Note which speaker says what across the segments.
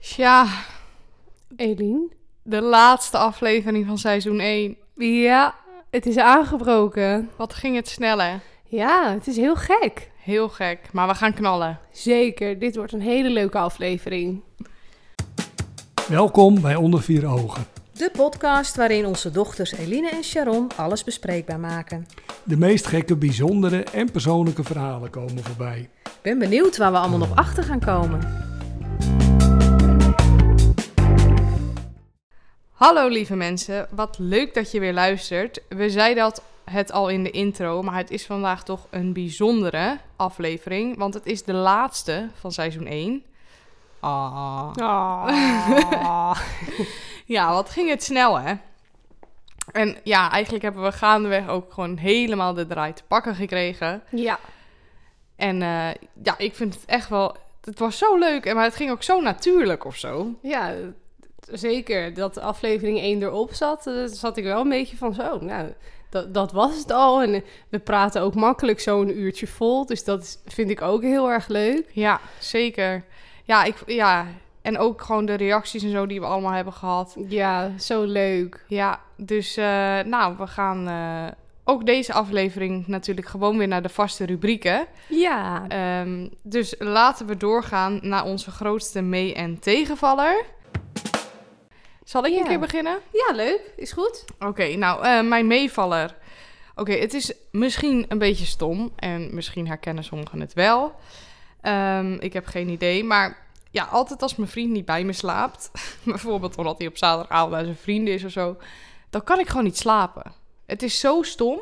Speaker 1: Tja,
Speaker 2: Eline,
Speaker 1: de laatste aflevering van seizoen 1.
Speaker 2: ja, het is aangebroken.
Speaker 1: Wat ging het snel, hè?
Speaker 2: Ja, het is heel gek.
Speaker 1: Heel gek, maar we gaan knallen.
Speaker 2: Zeker, dit wordt een hele leuke aflevering.
Speaker 3: Welkom bij Onder Vier Ogen,
Speaker 4: De podcast waarin onze dochters Eline en Sharon alles bespreekbaar maken.
Speaker 3: de meest gekke, bijzondere en persoonlijke verhalen komen voorbij.
Speaker 4: Ik ben benieuwd waar we allemaal nog achter gaan komen.
Speaker 1: Hallo lieve mensen, wat leuk dat je weer luistert. We zeiden dat het al in de intro, maar het is vandaag toch een bijzondere aflevering, want het is de laatste van seizoen 1. Ah.
Speaker 2: Oh.
Speaker 1: Ja, wat ging het snel, hè? En ja, eigenlijk hebben we gaandeweg ook gewoon helemaal de draai te pakken gekregen.
Speaker 2: ja,
Speaker 1: En eh, ja, ik vind het echt wel. Het was zo leuk, en maar het ging ook zo natuurlijk of zo.
Speaker 2: ja, zeker. Dat aflevering 1 erop zat, eh, zat ik wel een beetje van zo. Nou, dat, dat was het al. En eh, we praten ook makkelijk zo'n uurtje vol. Dus dat is- vind ik ook heel erg leuk.
Speaker 1: Ja, zeker. Ja, ik, ja, en ook gewoon de reacties en zo die we allemaal hebben gehad.
Speaker 2: Ja, zo leuk.
Speaker 1: Ja, dus eh, nou, we gaan eh, ook deze aflevering natuurlijk gewoon weer naar de vaste rubrieken.
Speaker 2: Ja,
Speaker 1: Ehm, dus laten we doorgaan naar onze grootste mee- en tegenvaller. Zal ik
Speaker 2: Ja.
Speaker 1: een keer beginnen?
Speaker 2: ja leuk. Is goed.
Speaker 1: Oké, nou, eh, mijn meevaller. Oké, het is misschien een beetje stom en misschien herkennen sommigen het wel. Ehm, ik heb geen idee, maar ja, altijd als mijn vriend niet bij me slaapt, bijvoorbeeld omdat hij op zaterdagavond bij zijn vrienden is of zo, dan kan ik gewoon niet slapen. Het is zo stom,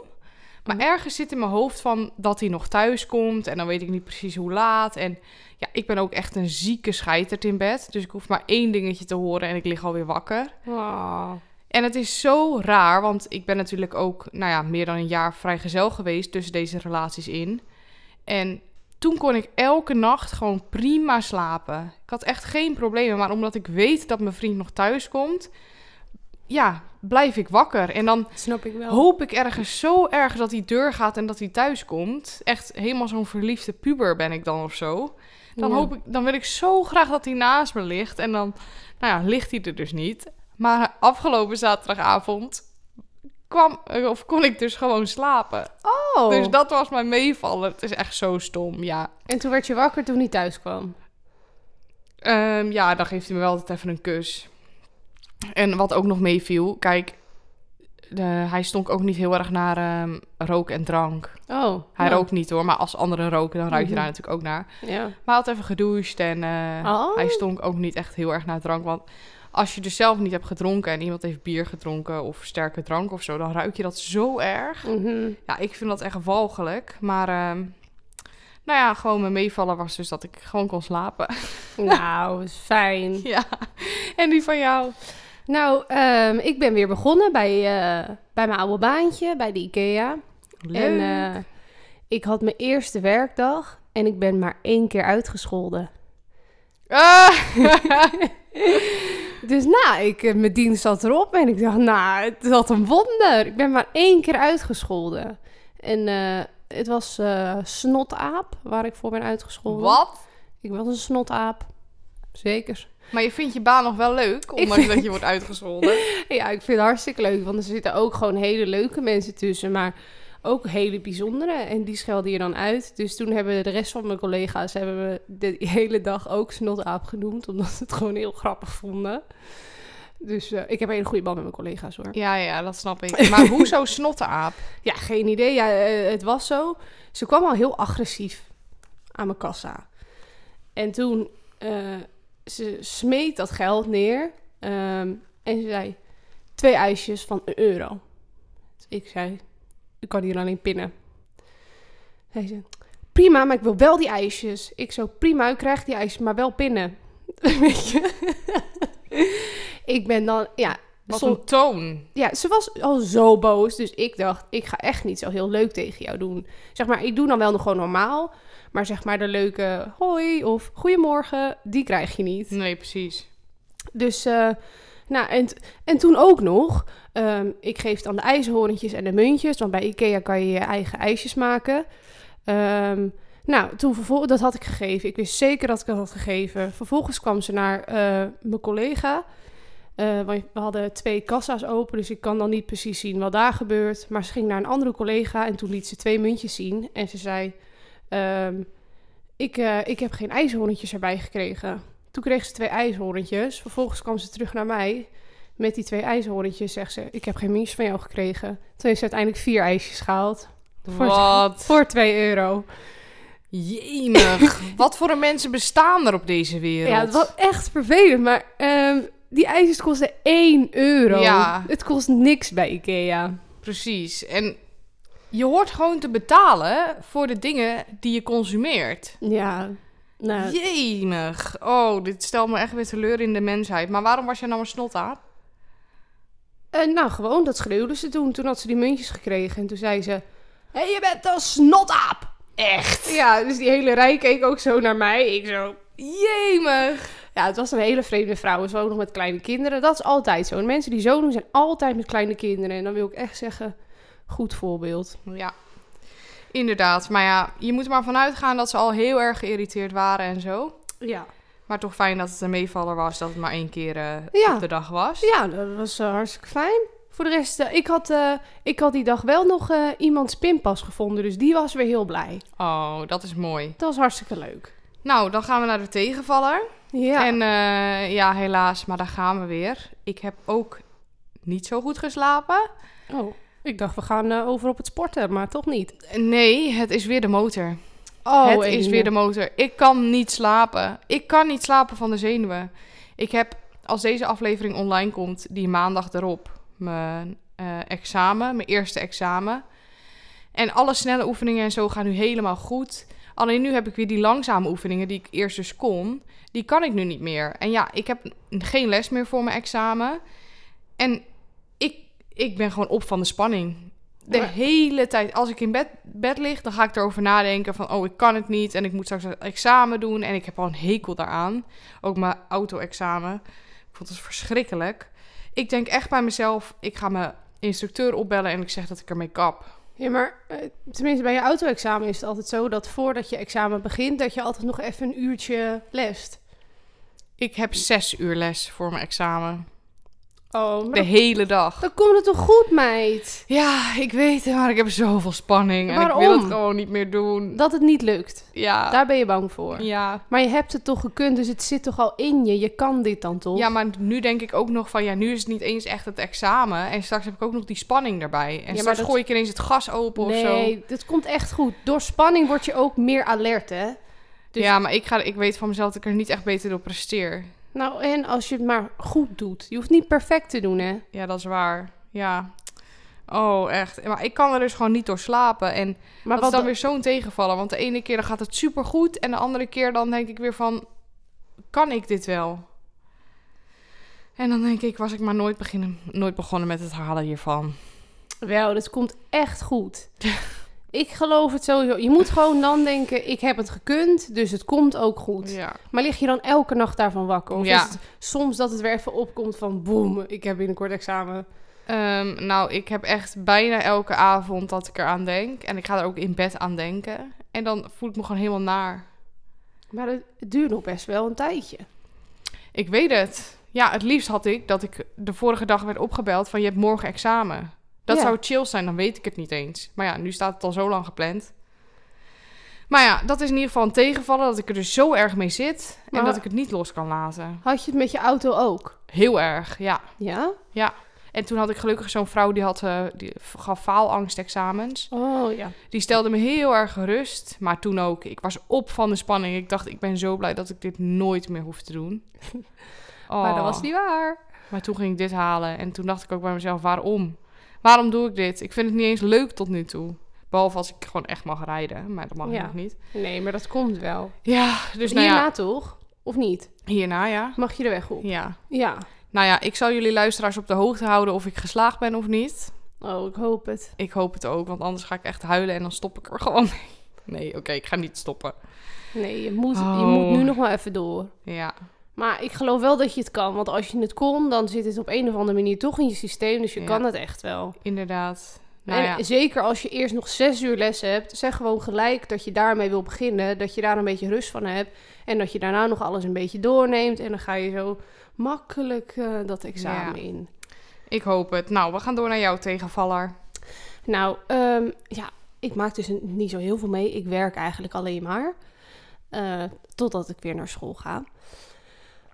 Speaker 1: maar ergens zit in mijn hoofd van dat hij nog thuis komt en dan weet ik niet precies hoe laat. En ja, ik ben ook echt een zieke scheiterd in bed, dus ik hoef maar één dingetje te horen en ik lig alweer wakker.
Speaker 2: Ah.
Speaker 1: En het is zo raar, want ik ben natuurlijk ook, nou ja, meer dan een jaar vrijgezel geweest tussen deze relaties in. En toen kon ik elke nacht gewoon prima slapen. Ik had echt geen problemen, maar omdat ik weet dat mijn vriend nog thuis komt, ja, blijf ik wakker. En dan
Speaker 2: Dat snap ik wel.
Speaker 1: hoop ik ergens zo erg dat die deur gaat en dat hij thuis komt. Echt helemaal zo'n verliefde puber ben ik dan of zo. Dan,
Speaker 2: Ja.
Speaker 1: hoop ik, dan wil ik zo graag dat hij naast me ligt. En dan, nou ja, ligt hij er dus niet. Maar afgelopen zaterdagavond kwam, eh, of kon ik dus gewoon slapen.
Speaker 2: Oh.
Speaker 1: Dus dat was mijn meevallen. Het is echt zo stom, ja.
Speaker 2: En toen werd je wakker toen hij thuis kwam.
Speaker 1: Ehm, ja, dan geeft hij me wel altijd even een kus. En wat ook nog meeviel, kijk, de- hij stonk ook niet heel erg naar ehm, rook en drank.
Speaker 2: Oh.
Speaker 1: Hij
Speaker 2: nou,
Speaker 1: rookt niet hoor, maar als anderen roken, dan ruik je
Speaker 2: Mhm.
Speaker 1: daar natuurlijk ook naar.
Speaker 2: Ja.
Speaker 1: Maar hij had even gedoucht en eh,
Speaker 2: Oh.
Speaker 1: hij stonk ook niet echt heel erg naar drank. Want als je dus zelf niet hebt gedronken en iemand heeft bier gedronken of sterke drank of zo, dan ruik je dat zo erg.
Speaker 2: Mhm.
Speaker 1: Ja, ik vind dat echt walgelijk. Maar ehm, nou ja, gewoon mijn meevallen was dus dat ik gewoon kon slapen.
Speaker 2: Nou, is fijn.
Speaker 1: ja, en die van jou.
Speaker 2: Nou, ehm, ik ben weer begonnen bij, eh, bij mijn oude baantje, bij de IKEA. En eh, ik had mijn eerste werkdag en ik ben maar één keer uitgescholden.
Speaker 1: Ah!
Speaker 2: Dus nou, ik, eh, mijn dienst zat erop en ik dacht, nou, het wat een wonder. Ik ben maar één keer uitgescholden. En eh, het was eh, snotaap waar ik voor ben uitgescholden.
Speaker 1: Wat?
Speaker 2: Ik was een snotaap. Zeker.
Speaker 1: Maar je vindt je baan nog wel leuk, ondanks dat je wordt uitgescholden.
Speaker 2: Ja, ik vind het hartstikke leuk, want er zitten ook gewoon hele leuke mensen tussen, maar ook hele bijzondere. En die schelde je dan uit. Dus toen hebben de rest van mijn collega's hebben me de hele dag ook snotaap genoemd, omdat ze het gewoon heel grappig vonden. Dus eh, ik heb een hele goede band met mijn collega's hoor.
Speaker 1: Ja, ja, dat snap ik. Maar hoezo snottenaap?
Speaker 2: Ja, geen idee. Ja, eh, het was zo. Ze kwam al heel agressief aan mijn kassa. En toen, eh, ze smeet dat geld neer. ehm, en ze zei, twee ijsjes van een euro. Dus ik zei, ik kan hier alleen pinnen. Hij zei, prima, maar ik wil wel die ijsjes. Ik zo, prima, u krijgt die ijsjes, maar wel pinnen. Weet je? ik ben dan, ja...
Speaker 1: Wat
Speaker 2: som-
Speaker 1: een toon.
Speaker 2: ja, ze was al zo boos. Dus ik dacht, ik ga echt niet zo heel leuk tegen jou doen. Zeg maar, ik doe dan wel nog gewoon normaal. Maar zeg maar de leuke hoi of goedemorgen, die krijg je niet.
Speaker 1: Nee, precies.
Speaker 2: Dus, eh, nou, en, t- en toen ook nog. ehm, ik geef dan de ijshoorntjes en de muntjes. Want bij Ikea kan je je eigen ijsjes maken. Ehm, Nou, toen vervolgens, dat had ik gegeven. Ik wist zeker dat ik dat had gegeven. Vervolgens kwam ze naar eh, mijn collega. Eh, want we hadden twee kassa's open, dus ik kan dan niet precies zien wat daar gebeurt. Maar ze ging naar een andere collega en toen liet ze twee muntjes zien. En ze zei, ehm, ik, eh, ik heb geen ijshoorntjes erbij gekregen. Toen kreeg ze twee ijshoorntjes. Vervolgens kwam ze terug naar mij met die twee ijshoorntjes. Zegt ze, ik heb geen muntjes van jou gekregen. Toen heeft ze uiteindelijk vier ijsjes gehaald Voor-
Speaker 1: Wat?
Speaker 2: voor 2 euro.
Speaker 1: Jemig. Wat voor een mensen bestaan er op deze wereld?
Speaker 2: Ja, het was echt vervelend, maar ehm, die ijsjes kosten 1 euro.
Speaker 1: Ja.
Speaker 2: Het kost niks bij Ikea.
Speaker 1: Precies. En je hoort gewoon te betalen voor de dingen die je consumeert.
Speaker 2: Ja, nou,
Speaker 1: Jemig. Oh, dit stelt me echt weer teleur in de mensheid. Maar waarom was jij nou een snot aan?
Speaker 2: eh, nou gewoon, dat schreeuwde ze toen. Toen had ze die muntjes gekregen en toen zei ze... Hé, je bent een snotaap! Echt? Ja, dus die hele rij keek ook zo naar mij. Ik zo...
Speaker 1: Jemig.
Speaker 2: Ja, het was een hele vreemde vrouw. Ze woont nog met kleine kinderen. Dat is altijd zo. En mensen die zo doen, zijn altijd met kleine kinderen. En dan wil ik echt zeggen, goed voorbeeld.
Speaker 1: Ja. Inderdaad. Maar ja, je moet er maar vanuit gaan dat ze al heel erg geïrriteerd waren en zo.
Speaker 2: Ja.
Speaker 1: Maar toch fijn dat het een meevaller was, dat het maar één keer eh,
Speaker 2: Ja.
Speaker 1: op de dag was.
Speaker 2: Ja, dat was eh, hartstikke fijn. Voor de rest, eh, ik, had, eh, ik had die dag wel nog eh, iemands pinpas gevonden. Dus die was weer heel blij.
Speaker 1: Oh, dat is mooi.
Speaker 2: Dat was hartstikke leuk.
Speaker 1: Nou, dan gaan we naar de tegenvaller.
Speaker 2: Ja.
Speaker 1: En eh, ja, helaas, maar daar gaan we weer. Ik heb ook niet zo goed geslapen.
Speaker 2: Oh, ik dacht we gaan eh, over op het sporten, maar toch niet.
Speaker 1: Nee, het is weer de motor.
Speaker 2: Oh,
Speaker 1: het is weer de motor. Ik kan niet slapen. Ik kan niet slapen van de zenuwen. Ik heb, als deze aflevering online komt, die maandag erop, mijn eh, examen, mijn eerste examen. En alle snelle oefeningen en zo gaan nu helemaal goed. Alleen nu heb ik weer die langzame oefeningen die ik eerst dus kon. Die kan ik nu niet meer. En ja, ik heb n- geen les meer voor mijn examen. En ik, ik ben gewoon op van de spanning. De
Speaker 2: Maar-
Speaker 1: hele tijd, als ik in bed, bed lig, dan ga ik erover nadenken van... oh, ik kan het niet en ik moet straks een examen doen. En ik heb al een hekel daaraan. Ook mijn auto-examen. Ik vond het verschrikkelijk. Ik denk echt bij mezelf, ik ga mijn instructeur opbellen... en ik zeg dat ik ermee kap.
Speaker 2: Ja, maar eh, tenminste bij je auto-examen is het altijd zo dat voordat je examen begint, dat je altijd nog even een uurtje lest.
Speaker 1: Ik heb zes uur les voor mijn examen.
Speaker 2: Oh, maar
Speaker 1: De hele dag.
Speaker 2: dan komt het toch goed, meid?
Speaker 1: Ja, ik weet het, maar ik heb zoveel spanning. En ik wil
Speaker 2: Waarom?
Speaker 1: het gewoon niet meer doen.
Speaker 2: Dat het niet lukt.
Speaker 1: Ja.
Speaker 2: Daar ben je bang voor.
Speaker 1: ja.
Speaker 2: Maar je hebt het toch gekund, dus het zit toch al in je. Je kan dit dan toch?
Speaker 1: ja, maar nu denk ik ook nog van... ja, nu is het niet eens echt het examen. En straks heb ik ook nog die spanning daarbij. En
Speaker 2: maar
Speaker 1: straks
Speaker 2: dat-
Speaker 1: gooi ik ineens het gas open of zo.
Speaker 2: Nee, dat komt echt goed. Door spanning word je ook meer alert, hè? dus-
Speaker 1: Ja, maar ik, ga, ik weet van mezelf dat ik er niet echt beter door presteer.
Speaker 2: Nou, en als je het maar goed doet. Je hoeft niet perfect te doen, hè?
Speaker 1: Ja, dat is waar. Ja. Oh, echt. Maar ik kan er dus gewoon niet door slapen. En
Speaker 2: Maar
Speaker 1: dat is dan
Speaker 2: da-
Speaker 1: weer zo'n tegenvallen. Want de ene keer dan gaat het supergoed. En de andere keer dan denk ik weer van... Kan ik dit wel? En dan denk ik, was ik maar nooit, beginnen, nooit begonnen met het halen hiervan.
Speaker 2: Wel, dat komt echt goed. ik geloof het sowieso. Je moet gewoon dan denken, ik heb het gekund, dus het komt ook goed.
Speaker 1: Ja.
Speaker 2: Maar lig je dan elke nacht daarvan wakker? Of
Speaker 1: Ja.
Speaker 2: is het soms dat het weer even opkomt van boem, ik heb binnenkort examen.
Speaker 1: Ehm, nou, ik heb echt bijna elke avond dat ik eraan denk. En ik ga er ook in bed aan denken. En dan voel ik me gewoon helemaal naar.
Speaker 2: Maar het, het duurt nog best wel een tijdje.
Speaker 1: Ik weet het. Ja, het liefst had ik dat ik de vorige dag werd opgebeld van... Je hebt morgen examen. Dat
Speaker 2: Ja.
Speaker 1: zou chill zijn, dan weet ik het niet eens. Maar ja, nu staat het al zo lang gepland. Maar ja, dat is in ieder geval een tegenvallen dat ik er dus zo erg mee zit
Speaker 2: Maar-
Speaker 1: en dat ik het niet los kan laten.
Speaker 2: Had je het met je auto ook?
Speaker 1: Heel erg, ja.
Speaker 2: Ja?
Speaker 1: En toen had ik gelukkig zo'n vrouw die, had, eh, die gaf faalangstexamens.
Speaker 2: Oh ja.
Speaker 1: Die stelde me heel erg gerust, maar toen ook. Ik was op van de spanning. Ik dacht, ik ben zo blij dat ik dit nooit meer hoef te doen.
Speaker 2: Maar dat
Speaker 1: Oh.
Speaker 2: was niet waar.
Speaker 1: Maar toen ging ik dit halen en toen dacht ik ook bij mezelf, waarom? Waarom doe ik dit? Ik vind het niet eens leuk tot nu toe. Behalve als ik gewoon echt mag rijden, maar dat mag ik
Speaker 2: Ja.
Speaker 1: nog niet.
Speaker 2: Nee, maar dat komt wel.
Speaker 1: Ja, dus nou
Speaker 2: Hierna
Speaker 1: ja,
Speaker 2: toch? Of niet?
Speaker 1: hierna ja.
Speaker 2: Mag je de weg op?
Speaker 1: Ja.
Speaker 2: Ja.
Speaker 1: Nou ja, ik zal jullie luisteraars op de hoogte houden of ik geslaagd ben of niet.
Speaker 2: Oh, ik hoop het.
Speaker 1: Ik hoop het ook, want anders ga ik echt huilen en dan stop ik er gewoon mee. Nee, oké, ik ga niet stoppen.
Speaker 2: Nee, je moet, je
Speaker 1: Oh.
Speaker 2: moet nu nog wel even door.
Speaker 1: Ja,
Speaker 2: Maar ik geloof wel dat je het kan. Want als je het kon, dan zit het op een of andere manier toch in je systeem. Dus je
Speaker 1: Ja.
Speaker 2: kan het echt wel.
Speaker 1: inderdaad. Nou
Speaker 2: en
Speaker 1: ja.
Speaker 2: zeker als je eerst nog zes uur les hebt, zeg gewoon gelijk dat je daarmee wil beginnen. Dat je daar een beetje rust van hebt. En dat je daarna nog alles een beetje doorneemt. En dan ga je zo makkelijk eh, dat examen
Speaker 1: Ja.
Speaker 2: in.
Speaker 1: Ik hoop het. Nou, we gaan door naar jouw tegenvaller.
Speaker 2: Nou, ehm, ja, ik maak dus een- niet zo heel veel mee. Ik werk eigenlijk alleen maar. eh, totdat ik weer naar school ga.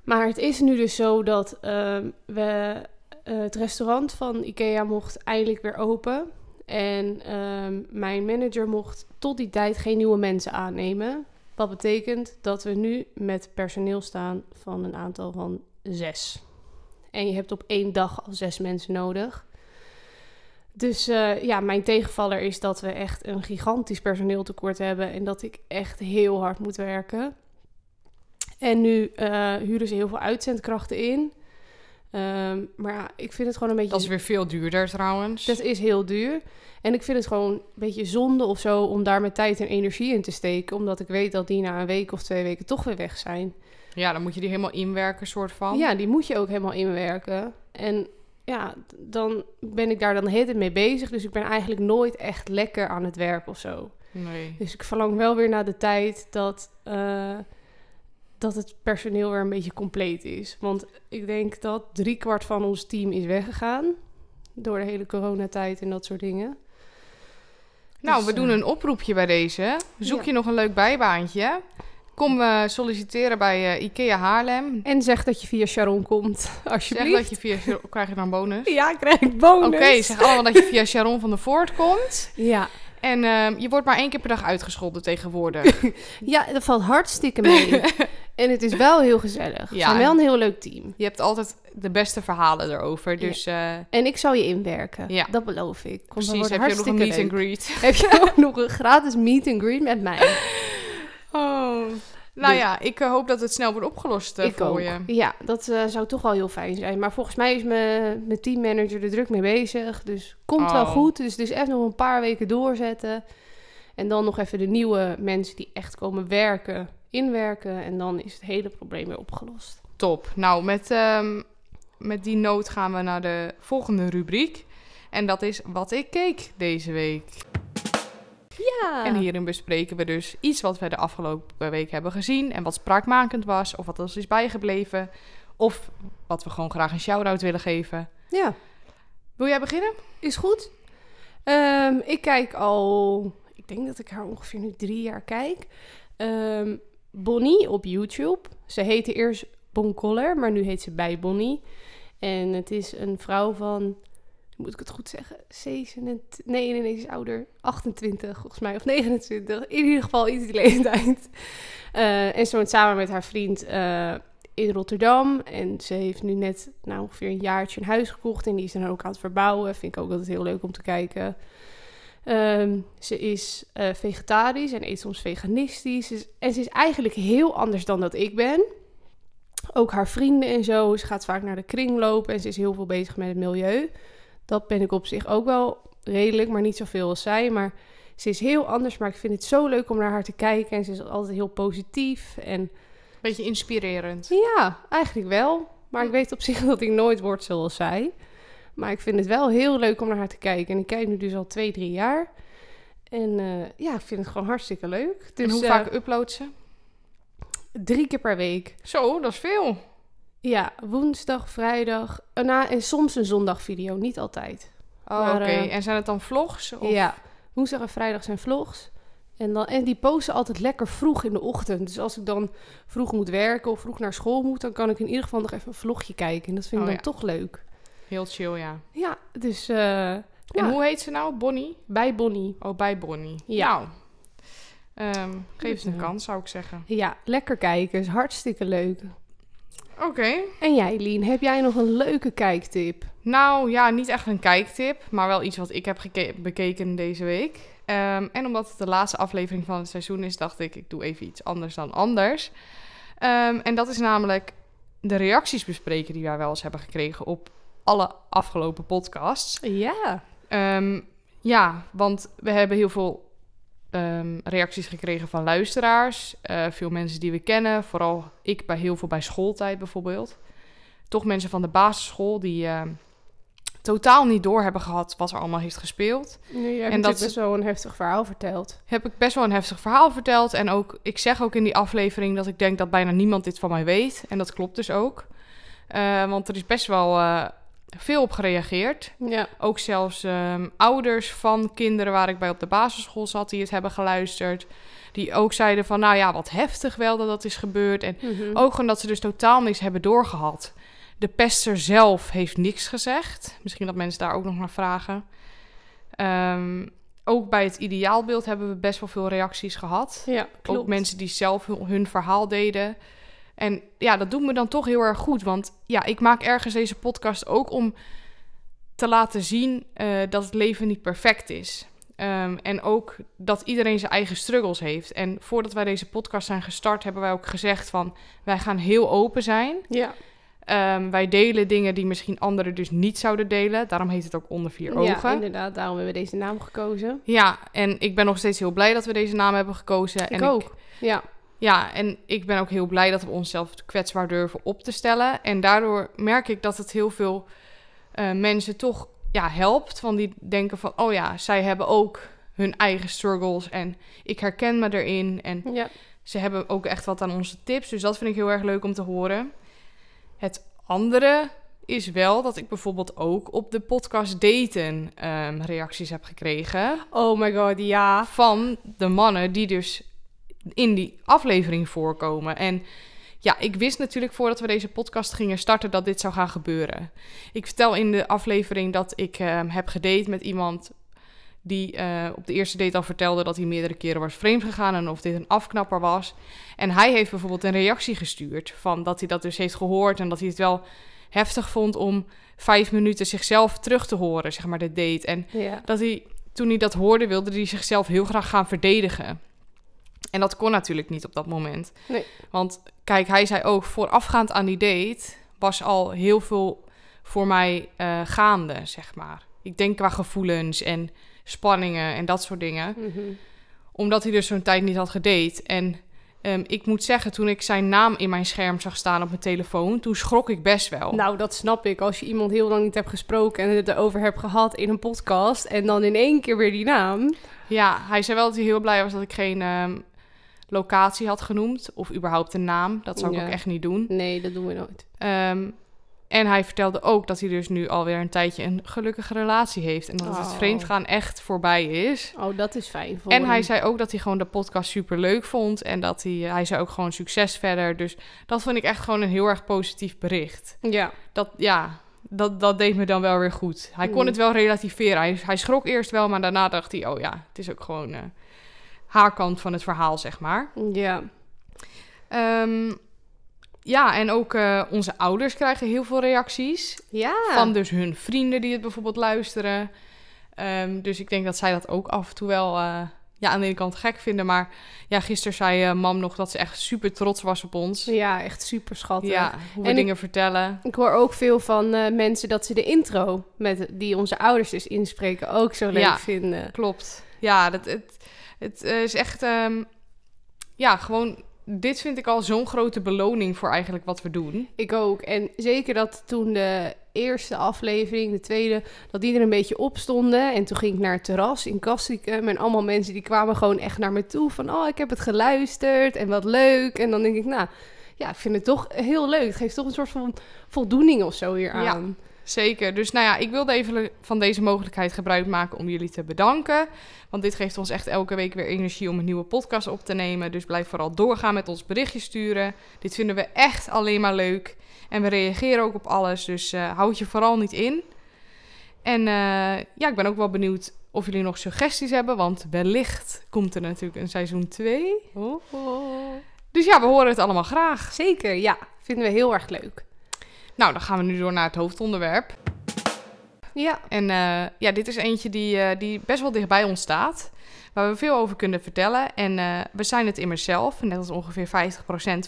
Speaker 2: Maar het is nu dus zo dat ehm, we, eh, het restaurant van IKEA mocht eindelijk weer open. En ehm, mijn manager mocht tot die tijd geen nieuwe mensen aannemen. Wat betekent dat we nu met personeel staan van een aantal van zes. En je hebt op één dag al zes mensen nodig. Dus eh, ja, mijn tegenvaller is dat we echt een gigantisch personeeltekort hebben en dat ik echt heel hard moet werken. En nu eh, huren ze heel veel uitzendkrachten in. Ehm, maar ja, ik vind het gewoon een beetje...
Speaker 1: Dat is weer veel duurder trouwens.
Speaker 2: Dus Dat is heel duur. En ik vind het gewoon een beetje zonde of zo om daar mijn tijd en energie in te steken. Omdat ik weet dat die na een week of twee weken toch weer weg zijn.
Speaker 1: Ja, dan moet je die helemaal inwerken, soort van.
Speaker 2: Ja, die moet je ook helemaal inwerken. En ja, d- dan ben ik daar dan de hele tijd mee bezig. Dus ik ben eigenlijk nooit echt lekker aan het werk of zo.
Speaker 1: Nee.
Speaker 2: Dus ik verlang wel weer naar de tijd dat, eh, dat het personeel weer een beetje compleet is. Want ik denk dat driekwart van ons team is weggegaan. Door de hele coronatijd en dat soort dingen.
Speaker 1: Nou,
Speaker 4: Dus,
Speaker 1: we doen
Speaker 4: eh,
Speaker 1: een oproepje bij deze. Zoek
Speaker 2: Ja.
Speaker 1: je nog een leuk bijbaantje? Kom eh, solliciteren bij eh, IKEA Haarlem.
Speaker 2: En zeg dat je via Sharon komt,
Speaker 1: Zeg
Speaker 2: alsjeblieft.
Speaker 1: dat je via... Krijg je dan bonus?
Speaker 2: Ja, ik krijg bonus.
Speaker 1: Oké, zeg allemaal dat je via Sharon van der Voort komt.
Speaker 2: Ja.
Speaker 1: En eh, je wordt maar één keer per dag uitgescholden tegenwoordig.
Speaker 2: ja, dat valt hartstikke mee. en het is wel heel gezellig.
Speaker 1: Ja.
Speaker 2: Ja. wel een heel leuk team.
Speaker 1: Je hebt altijd de beste verhalen erover.
Speaker 2: Ja.
Speaker 1: Dus eh,
Speaker 2: En ik zal je inwerken.
Speaker 1: Ja.
Speaker 2: Dat beloof ik. Komt
Speaker 1: precies, heb je nog een meet and greet.
Speaker 2: Heb je ook nog een gratis meet and greet met mij?
Speaker 1: Oh. Nou
Speaker 2: Dus-
Speaker 1: ja, ik eh, hoop dat het snel wordt opgelost eh,
Speaker 2: ik
Speaker 1: voor
Speaker 2: ook.
Speaker 1: je.
Speaker 2: Ja, dat eh, zou toch wel heel fijn zijn. Maar volgens mij is mijn, mijn teammanager er druk mee bezig. Dus komt wel
Speaker 1: Oh.
Speaker 2: goed. Dus het is echt nog een paar weken doorzetten. En dan nog even de nieuwe mensen die echt komen werken, inwerken. En dan is het hele probleem weer opgelost.
Speaker 1: Top. Nou, met, ehm, met die noot gaan we naar de volgende rubriek. En dat is wat ik keek deze week.
Speaker 2: Ja.
Speaker 1: En hierin bespreken we dus iets wat we de afgelopen week hebben gezien. En wat spraakmakend was, of wat ons is bijgebleven. Of wat we gewoon graag een shout-out willen geven.
Speaker 2: Ja,
Speaker 1: Wil jij beginnen?
Speaker 2: is goed. Ehm, ik kijk al... Ik denk dat ik haar ongeveer nu drie jaar kijk. Ehm, Bonnie op YouTube. Ze heette eerst Bon Collar, maar nu heet ze bij Bonnie. En het is een vrouw van, moet ik het goed zeggen? 27, nee, nee, nee, ze is ouder. 28 volgens mij, of 29. In ieder geval iets die leeftijd. Eh, en ze woont samen met haar vriend eh, in Rotterdam. En ze heeft nu net nou, ongeveer een jaartje een huis gekocht. En die is dan ook aan het verbouwen. Vind ik ook altijd heel leuk om te kijken. Ehm, ze is eh, vegetarisch en eet soms veganistisch. Dus- En ze is eigenlijk heel anders dan dat ik ben. Ook haar vrienden en zo. Ze gaat vaak naar de kringloop en ze is heel veel bezig met het milieu. Dat ben ik op zich ook wel redelijk, maar niet zoveel als zij. Maar ze is heel anders, maar ik vind het zo leuk om naar haar te kijken. En ze is altijd heel positief. En
Speaker 1: Beetje inspirerend.
Speaker 2: ja, eigenlijk wel. Maar ik weet op zich dat ik nooit word zoals zij. Maar ik vind het wel heel leuk om naar haar te kijken. En ik kijk nu dus al twee, drie jaar. En eh, ja, ik vind het gewoon hartstikke leuk. Dus
Speaker 1: en hoe
Speaker 2: eh,
Speaker 1: vaak uploadt ze?
Speaker 2: drie keer per week.
Speaker 1: Zo, dat is veel.
Speaker 2: Ja, woensdag, vrijdag. eh, na- en soms een zondagvideo, niet altijd.
Speaker 1: Oh,
Speaker 2: Maar,
Speaker 1: oké.
Speaker 2: eh,
Speaker 1: En zijn het dan vlogs? Of...
Speaker 2: Ja, woensdag en vrijdag zijn vlogs. En, dan, en die posten altijd lekker vroeg in de ochtend. Dus als ik dan vroeg moet werken of vroeg naar school moet, dan kan ik in ieder geval nog even een vlogje kijken. En dat vind ik
Speaker 1: Oh,
Speaker 2: dan toch leuk.
Speaker 1: Heel chill, ja.
Speaker 2: Ja, dus eh,
Speaker 1: En
Speaker 2: Ja.
Speaker 1: hoe heet ze nou? Bonnie?
Speaker 2: bij Bonnie.
Speaker 1: Oh, bij Bonnie.
Speaker 2: Ja.
Speaker 1: Nou, ehm, geef ze een
Speaker 2: Ja.
Speaker 1: kans, zou ik zeggen.
Speaker 2: Ja, lekker kijken. Is hartstikke leuk.
Speaker 1: Oké.
Speaker 2: En jij, Lien, heb jij nog een leuke kijktip?
Speaker 1: Nou ja, niet echt een kijktip, maar wel iets wat ik heb geke- bekeken deze week. Ehm, en omdat het de laatste aflevering van het seizoen is, dacht ik, ik doe even iets anders dan anders. Ehm, en dat is namelijk de reacties bespreken die wij wel eens hebben gekregen op alle afgelopen podcasts.
Speaker 2: Ja.
Speaker 1: Ehm, ja, want we hebben heel veel ehm, reacties gekregen van luisteraars. eh, veel mensen die we kennen. Vooral ik bij heel veel bij schooltijd bijvoorbeeld. Toch mensen van de basisschool die ehm, totaal niet door hebben gehad wat er allemaal heeft gespeeld.
Speaker 2: Nee, je hebt
Speaker 1: En
Speaker 2: en
Speaker 1: dat
Speaker 2: dat best wel dus een heftig verhaal verteld.
Speaker 1: Heb ik best wel een heftig verhaal verteld. En ook, ik zeg ook in die aflevering dat ik denk dat bijna niemand dit van mij weet. En dat klopt dus ook. Eh, want er is best wel eh, veel op gereageerd.
Speaker 2: Ja.
Speaker 1: Ook zelfs ehm, ouders van kinderen waar ik bij op de basisschool zat, die het hebben geluisterd. Die ook zeiden van, nou ja, wat heftig wel dat dat is gebeurd. En
Speaker 2: Mhm.
Speaker 1: ook gewoon dat ze dus totaal niks hebben doorgehad. De pester zelf heeft niks gezegd. Misschien dat mensen daar ook nog naar vragen. Ehm, ook bij het ideaalbeeld hebben we best wel veel reacties gehad.
Speaker 2: ja, klopt.
Speaker 1: Ook mensen die zelf hun, hun verhaal deden. En ja, dat doet me dan toch heel erg goed. Want ja, ik maak ergens deze podcast ook om te laten zien eh, dat het leven niet perfect is. Ehm, en ook dat iedereen zijn eigen struggles heeft. En voordat wij deze podcast zijn gestart, hebben wij ook gezegd van wij gaan heel open zijn.
Speaker 2: Ja,
Speaker 1: Ehm, wij delen dingen die misschien anderen dus niet zouden delen. Daarom heet het ook onder vier ogen.
Speaker 2: ja, inderdaad. Daarom hebben we deze naam gekozen.
Speaker 1: Ja, en ik ben nog steeds heel blij dat we deze naam hebben gekozen.
Speaker 2: Ik
Speaker 1: en
Speaker 2: ook. Ja,
Speaker 1: ja, en ik ben ook heel blij dat we onszelf kwetsbaar durven op te stellen. En daardoor merk ik dat het heel veel eh, mensen toch ja, helpt. Want die denken van, oh ja, zij hebben ook hun eigen struggles en ik herken me erin. En
Speaker 2: ja.
Speaker 1: ze hebben ook echt wat aan onze tips. Dus dat vind ik heel erg leuk om te horen. Het andere is wel dat ik bijvoorbeeld ook op de podcast daten ehm, reacties heb gekregen
Speaker 2: Oh my god, ja.
Speaker 1: van de mannen die dus in die aflevering voorkomen. En ja, ik wist natuurlijk voordat we deze podcast gingen starten dat dit zou gaan gebeuren. Ik vertel in de aflevering dat ik ehm, heb gedate met iemand die eh, op de eerste date al vertelde dat hij meerdere keren was vreemd gegaan en of dit een afknapper was. En hij heeft bijvoorbeeld een reactie gestuurd van dat hij dat dus heeft gehoord en dat hij het wel heftig vond om vijf minuten zichzelf terug te horen, zeg maar, de date. En
Speaker 2: Ja,
Speaker 1: dat hij, toen hij dat hoorde, wilde hij zichzelf heel graag gaan verdedigen. En dat kon natuurlijk niet op dat moment.
Speaker 2: Nee.
Speaker 1: Want kijk, hij zei ook, voorafgaand aan die date was al heel veel voor mij eh, gaande, zeg maar. Ik denk qua gevoelens en spanningen en dat soort dingen.
Speaker 2: Mhm.
Speaker 1: Omdat hij dus zo'n tijd niet had gedate. En ehm, ik moet zeggen, toen ik zijn naam in mijn scherm zag staan op mijn telefoon, toen schrok ik best wel.
Speaker 2: Nou, dat snap ik. Als je iemand heel lang niet hebt gesproken en het erover hebt gehad in een podcast en dan in één keer weer die naam.
Speaker 1: Ja, hij zei wel dat hij heel blij was dat ik geen ehm, locatie had genoemd. Of überhaupt een naam. Dat zou ik
Speaker 2: Ja.
Speaker 1: ook echt niet doen.
Speaker 2: Nee, dat doen we nooit.
Speaker 1: Ehm, en hij vertelde ook dat hij dus nu alweer een tijdje een gelukkige relatie heeft. En dat het
Speaker 2: Oh.
Speaker 1: vreemdgaan echt voorbij is.
Speaker 2: Oh, dat is fijn voor
Speaker 1: En hij
Speaker 2: hem.
Speaker 1: zei ook dat hij gewoon de podcast super leuk vond. En dat hij, hij zei ook gewoon succes verder. Dus dat vond ik echt gewoon een heel erg positief bericht.
Speaker 2: Ja,
Speaker 1: Dat, ja, dat, dat deed me dan wel weer goed. Hij kon
Speaker 2: Mm.
Speaker 1: het wel relativeren. Hij, hij schrok eerst wel, maar daarna dacht hij... oh ja, het is ook gewoon eh, haar kant van het verhaal, zeg maar.
Speaker 2: ja.
Speaker 1: Ehm, ja, en ook eh, onze ouders krijgen heel veel reacties.
Speaker 2: Ja.
Speaker 1: Van dus hun vrienden die het bijvoorbeeld luisteren. Ehm, dus ik denk dat zij dat ook af en toe wel... eh, ja, aan de ene kant gek vinden, maar ja, gisteren zei eh, mam nog dat ze echt super trots was op ons.
Speaker 2: Ja, echt super schattig.
Speaker 1: Ja, hoe we
Speaker 2: En ik-
Speaker 1: dingen vertellen.
Speaker 2: Ik hoor ook veel van eh, mensen dat ze de intro met, die onze ouders dus inspreken ook zo leuk
Speaker 1: Ja.
Speaker 2: vinden.
Speaker 1: Klopt. Ja, dat, het, het eh, is echt... ehm, ja, gewoon... Dit vind ik al zo'n grote beloning voor eigenlijk wat we doen.
Speaker 2: Ik ook. En zeker dat toen de eerste aflevering, de tweede, dat die er een beetje op stonden. En toen ging ik naar het terras in Kastrikum. En allemaal mensen die kwamen gewoon echt naar me toe. Van, oh, ik heb het geluisterd en wat leuk. En dan denk ik, nou, ja, ik vind het toch heel leuk. Het geeft toch een soort van voldoening of zo hier
Speaker 1: Ja.
Speaker 2: aan.
Speaker 1: Zeker. Dus nou ja, ik wilde even van deze mogelijkheid gebruik maken om jullie te bedanken. Want dit geeft ons echt elke week weer energie om een nieuwe podcast op te nemen. Dus blijf vooral doorgaan met ons berichtje sturen. Dit vinden we echt alleen maar leuk. En we reageren ook op alles. Dus eh, houd je vooral niet in. En eh, ja, ik ben ook wel benieuwd of jullie nog suggesties hebben. Want wellicht komt er natuurlijk een seizoen 2. Dus ja, we horen het allemaal graag.
Speaker 2: Zeker, ja. Vinden we heel erg leuk.
Speaker 1: Nou, dan gaan we nu door naar het hoofdonderwerp.
Speaker 2: Ja,
Speaker 1: En eh, ja, dit is eentje die, eh, die best wel dichtbij ons staat. Waar we veel over kunnen vertellen. En eh, we zijn het immers zelf. Net als ongeveer 50%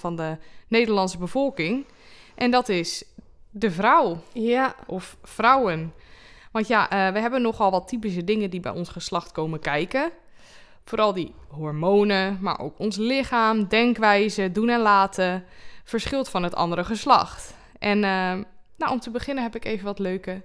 Speaker 1: van de Nederlandse bevolking. En dat is de vrouw
Speaker 2: ja,
Speaker 1: of vrouwen. Want ja, eh, we hebben nogal wat typische dingen die bij ons geslacht komen kijken. Vooral die hormonen, maar ook ons lichaam, denkwijze, doen en laten ehm, verschilt van het andere geslacht. En eh, nou, om te beginnen heb ik even wat leuke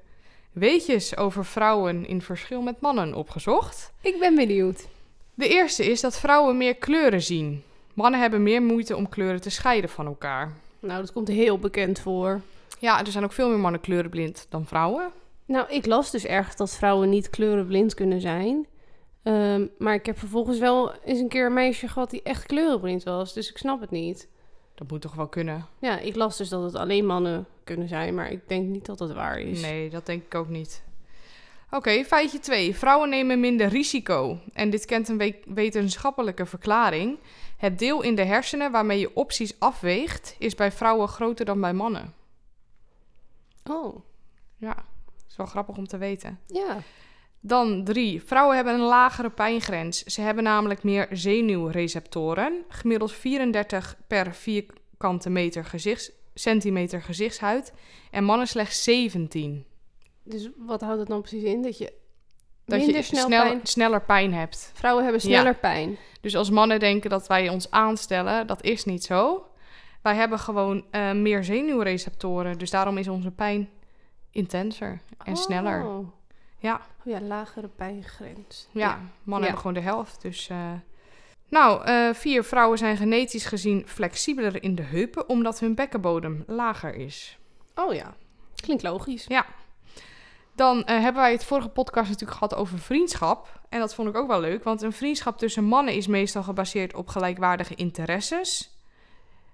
Speaker 1: weetjes over vrouwen in verschil met mannen opgezocht.
Speaker 2: Ik ben benieuwd.
Speaker 1: De eerste is dat vrouwen meer kleuren zien. Mannen hebben meer moeite om kleuren te scheiden van elkaar.
Speaker 2: Nou, dat komt heel bekend voor.
Speaker 1: Ja, er zijn ook veel meer mannen kleurenblind dan vrouwen.
Speaker 2: Nou, ik las dus erg dat vrouwen niet kleurenblind kunnen zijn. Ehm, maar ik heb vervolgens wel eens een keer een meisje gehad die echt kleurenblind was. Dus ik snap het niet.
Speaker 1: Dat moet toch wel kunnen?
Speaker 2: Ja, ik las dus dat het alleen mannen kunnen zijn. Maar ik denk niet dat dat waar is.
Speaker 1: Nee, dat denk ik ook niet. Oké, feitje 2. Vrouwen nemen minder risico. En dit kent een we- wetenschappelijke verklaring. Het deel in de hersenen waarmee je opties afweegt, is bij vrouwen groter dan bij mannen.
Speaker 2: Oh,
Speaker 1: Ja, is wel grappig om te weten.
Speaker 2: ja.
Speaker 1: Dan 3. Vrouwen hebben een lagere pijngrens. Ze hebben namelijk meer zenuwreceptoren. Gemiddeld 34 per vierkante meter gezichts, centimeter gezichtshuid. En mannen slechts 17.
Speaker 2: Dus wat houdt het dan precies in? Dat je
Speaker 1: Dat
Speaker 2: minder
Speaker 1: je
Speaker 2: snel
Speaker 1: snel-
Speaker 2: pijn...
Speaker 1: sneller pijn hebt.
Speaker 2: Vrouwen hebben
Speaker 1: Ja.
Speaker 2: sneller pijn.
Speaker 1: Dus als mannen denken dat wij ons aanstellen, dat is niet zo. Wij hebben gewoon eh, meer zenuwreceptoren. Dus daarom is onze pijn intenser en sneller.
Speaker 2: Oh.
Speaker 1: Ja.
Speaker 2: Oh ja, lagere pijngrens.
Speaker 1: Ja, mannen
Speaker 2: Ja.
Speaker 1: hebben gewoon de helft. Dus, eh. Nou, eh, vier vrouwen zijn genetisch gezien flexibeler in de heupen... omdat hun bekkenbodem lager is.
Speaker 2: Oh ja. Klinkt logisch.
Speaker 1: Dan eh, hebben wij het vorige podcast natuurlijk gehad over vriendschap. En dat vond ik ook wel leuk, want een vriendschap tussen mannen is meestal gebaseerd op gelijkwaardige interesses.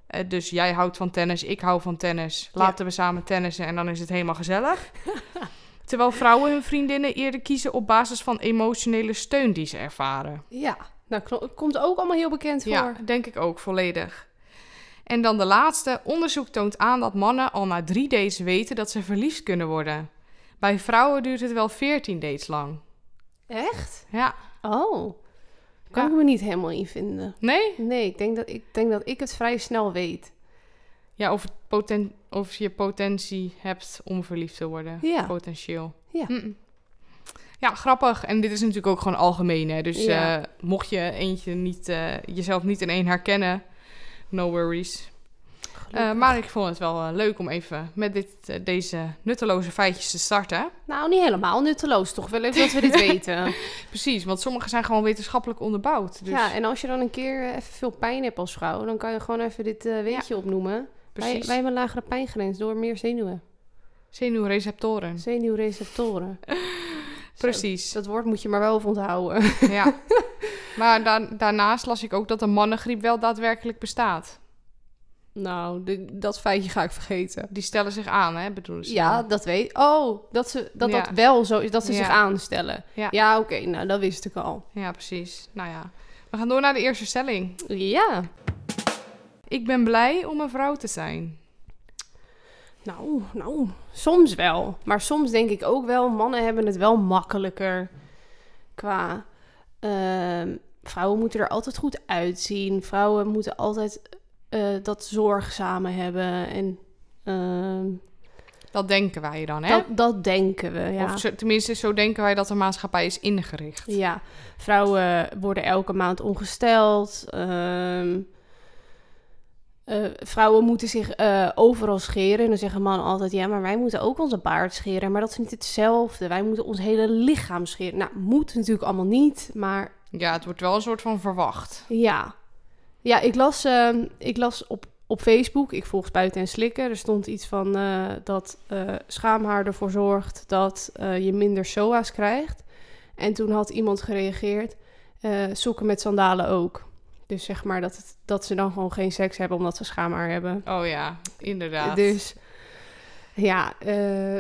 Speaker 1: Eh, dus jij houdt van tennis, ik hou van tennis. Laten we samen tennissen en dan is het helemaal gezellig. Terwijl vrouwen hun vriendinnen eerder kiezen op basis van emotionele steun die ze ervaren.
Speaker 2: Ja. Nou, kno- komt ook allemaal heel bekend voor.
Speaker 1: Ja, denk ik ook volledig. En dan de laatste. Onderzoek toont aan dat mannen al na drie dates weten dat ze verliefd kunnen worden. Bij vrouwen duurt het wel 14 dates lang.
Speaker 2: Echt?
Speaker 1: Ja.
Speaker 2: Oh. Kan
Speaker 1: Ja.
Speaker 2: ik me niet helemaal in vinden.
Speaker 1: Nee?
Speaker 2: Nee, ik denk, dat, ik denk dat ik het vrij snel weet.
Speaker 1: Ja, of, het poten- of je potentie hebt om verliefd te worden.
Speaker 2: Ja.
Speaker 1: Potentieel.
Speaker 2: Ja.
Speaker 1: Mm. Ja, grappig. En dit is natuurlijk ook gewoon algemeen. Hè? Dus
Speaker 2: Ja.
Speaker 1: eh, mocht je eentje niet, eh, jezelf niet in één herkennen, no worries. Eh, maar ik vond het wel eh, leuk om even met dit, eh, deze nutteloze feitjes te starten.
Speaker 2: Nou, niet helemaal nutteloos. Toch wel leuk dat we dit weten.
Speaker 1: Precies, want sommige zijn gewoon wetenschappelijk onderbouwd. Dus
Speaker 2: Ja, en als je dan een keer eh, even veel pijn hebt als vrouw... dan kan je gewoon even dit eh, weetje opnoemen. Wij,
Speaker 1: precies.
Speaker 2: wij hebben een lagere pijngrens door meer zenuwen.
Speaker 1: Zenuwreceptoren.
Speaker 2: Zenuwreceptoren.
Speaker 1: Precies.
Speaker 2: Zo, Mm. dat woord moet je maar wel even onthouden.
Speaker 1: Ja. Maar da- daarnaast las ik ook dat de mannengriep wel daadwerkelijk bestaat.
Speaker 2: Nou, de- dat feitje ga ik vergeten.
Speaker 1: Die stellen zich aan, hè, bedoelen ze.
Speaker 2: Ja, dat weet Oh, dat ze, dat, dat
Speaker 1: Ja.
Speaker 2: wel zo is, dat ze
Speaker 1: Ja.
Speaker 2: zich aanstellen.
Speaker 1: Ja.
Speaker 2: Ja, oké, nou, dat wist ik al.
Speaker 1: Ja, precies. Nou ja. We gaan door naar de eerste stelling.
Speaker 2: Ja.
Speaker 1: Ik ben blij om een vrouw te zijn.
Speaker 2: Nou, nou, soms wel. Maar soms denk ik ook wel, mannen hebben het wel makkelijker. Qua, ehm, vrouwen moeten er altijd goed uitzien. Vrouwen moeten altijd eh, dat zorgzame hebben. En ehm,
Speaker 1: Dat denken wij dan, hè?
Speaker 2: dat, dat denken we, ja.
Speaker 1: Of zo- tenminste, zo denken wij dat de maatschappij is ingericht.
Speaker 2: Ja, vrouwen worden elke maand ongesteld. ehm, eh, vrouwen moeten zich eh, overal scheren. En dan zeggen mannen altijd: ja, maar wij moeten ook onze baard scheren. Maar dat is niet hetzelfde. Wij moeten ons hele lichaam scheren. Nou, moet natuurlijk allemaal niet. Maar
Speaker 1: Ja, het wordt wel een soort van verwacht.
Speaker 2: ja. Ja, ik las, ehm, ik las op, op Facebook, ik volg Spuiten en Slikken, er stond iets van eh, dat eh, schaamhaar ervoor zorgt dat eh, je minder SOA's krijgt. En toen had iemand gereageerd, eh, sokken met sandalen ook. Dus zeg maar dat, het, dat ze dan gewoon geen seks hebben omdat ze schaamhaar hebben.
Speaker 1: Oh ja, inderdaad.
Speaker 2: Dus ja, eh,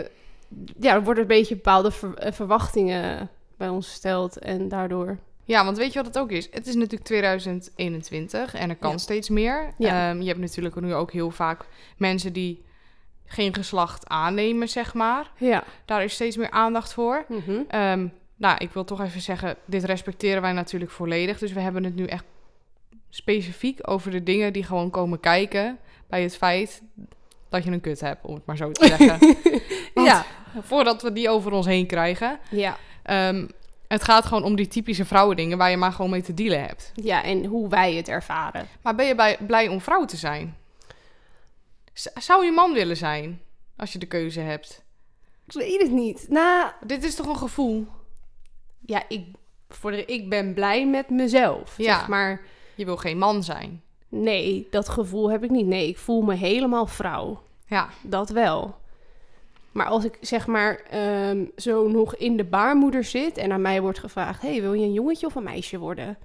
Speaker 2: ja, er worden een beetje bepaalde ver- eh, verwachtingen bij ons gesteld en daardoor...
Speaker 1: Ja, want weet je wat het ook is? Het is natuurlijk 2021 en er kan
Speaker 2: Ja.
Speaker 1: steeds meer.
Speaker 2: Ja.
Speaker 1: Ehm, je hebt natuurlijk nu ook heel vaak mensen die geen geslacht aannemen, zeg maar.
Speaker 2: Ja.
Speaker 1: Daar is steeds meer aandacht voor. Ehm, nou, ik wil toch even zeggen, dit respecteren wij natuurlijk volledig. Dus we hebben het nu echt specifiek over de dingen die gewoon komen kijken bij het feit dat je een kut hebt, om het maar zo te zeggen. Want-
Speaker 2: Ja.
Speaker 1: Voordat we die over ons heen krijgen.
Speaker 2: Ja.
Speaker 1: Ehm, het gaat gewoon om die typische vrouwendingen waar je maar gewoon mee te dealen hebt.
Speaker 2: Ja, en hoe wij het ervaren.
Speaker 1: Maar ben je bij, blij om vrouw te zijn? Z- zou je man willen zijn als je de keuze hebt?
Speaker 2: Ik weet het niet. Nou,
Speaker 1: Dit is toch een gevoel?
Speaker 2: ja, ik, voor de, ik ben blij met mezelf.
Speaker 1: Ja.
Speaker 2: Zeg maar
Speaker 1: Je wil geen man zijn.
Speaker 2: nee, dat gevoel heb ik niet. Nee, ik voel me helemaal vrouw.
Speaker 1: Ja,
Speaker 2: Dat wel. Maar als ik zeg maar ehm, zo nog in de baarmoeder zit en aan mij wordt gevraagd: hey, wil je een jongetje of een meisje worden?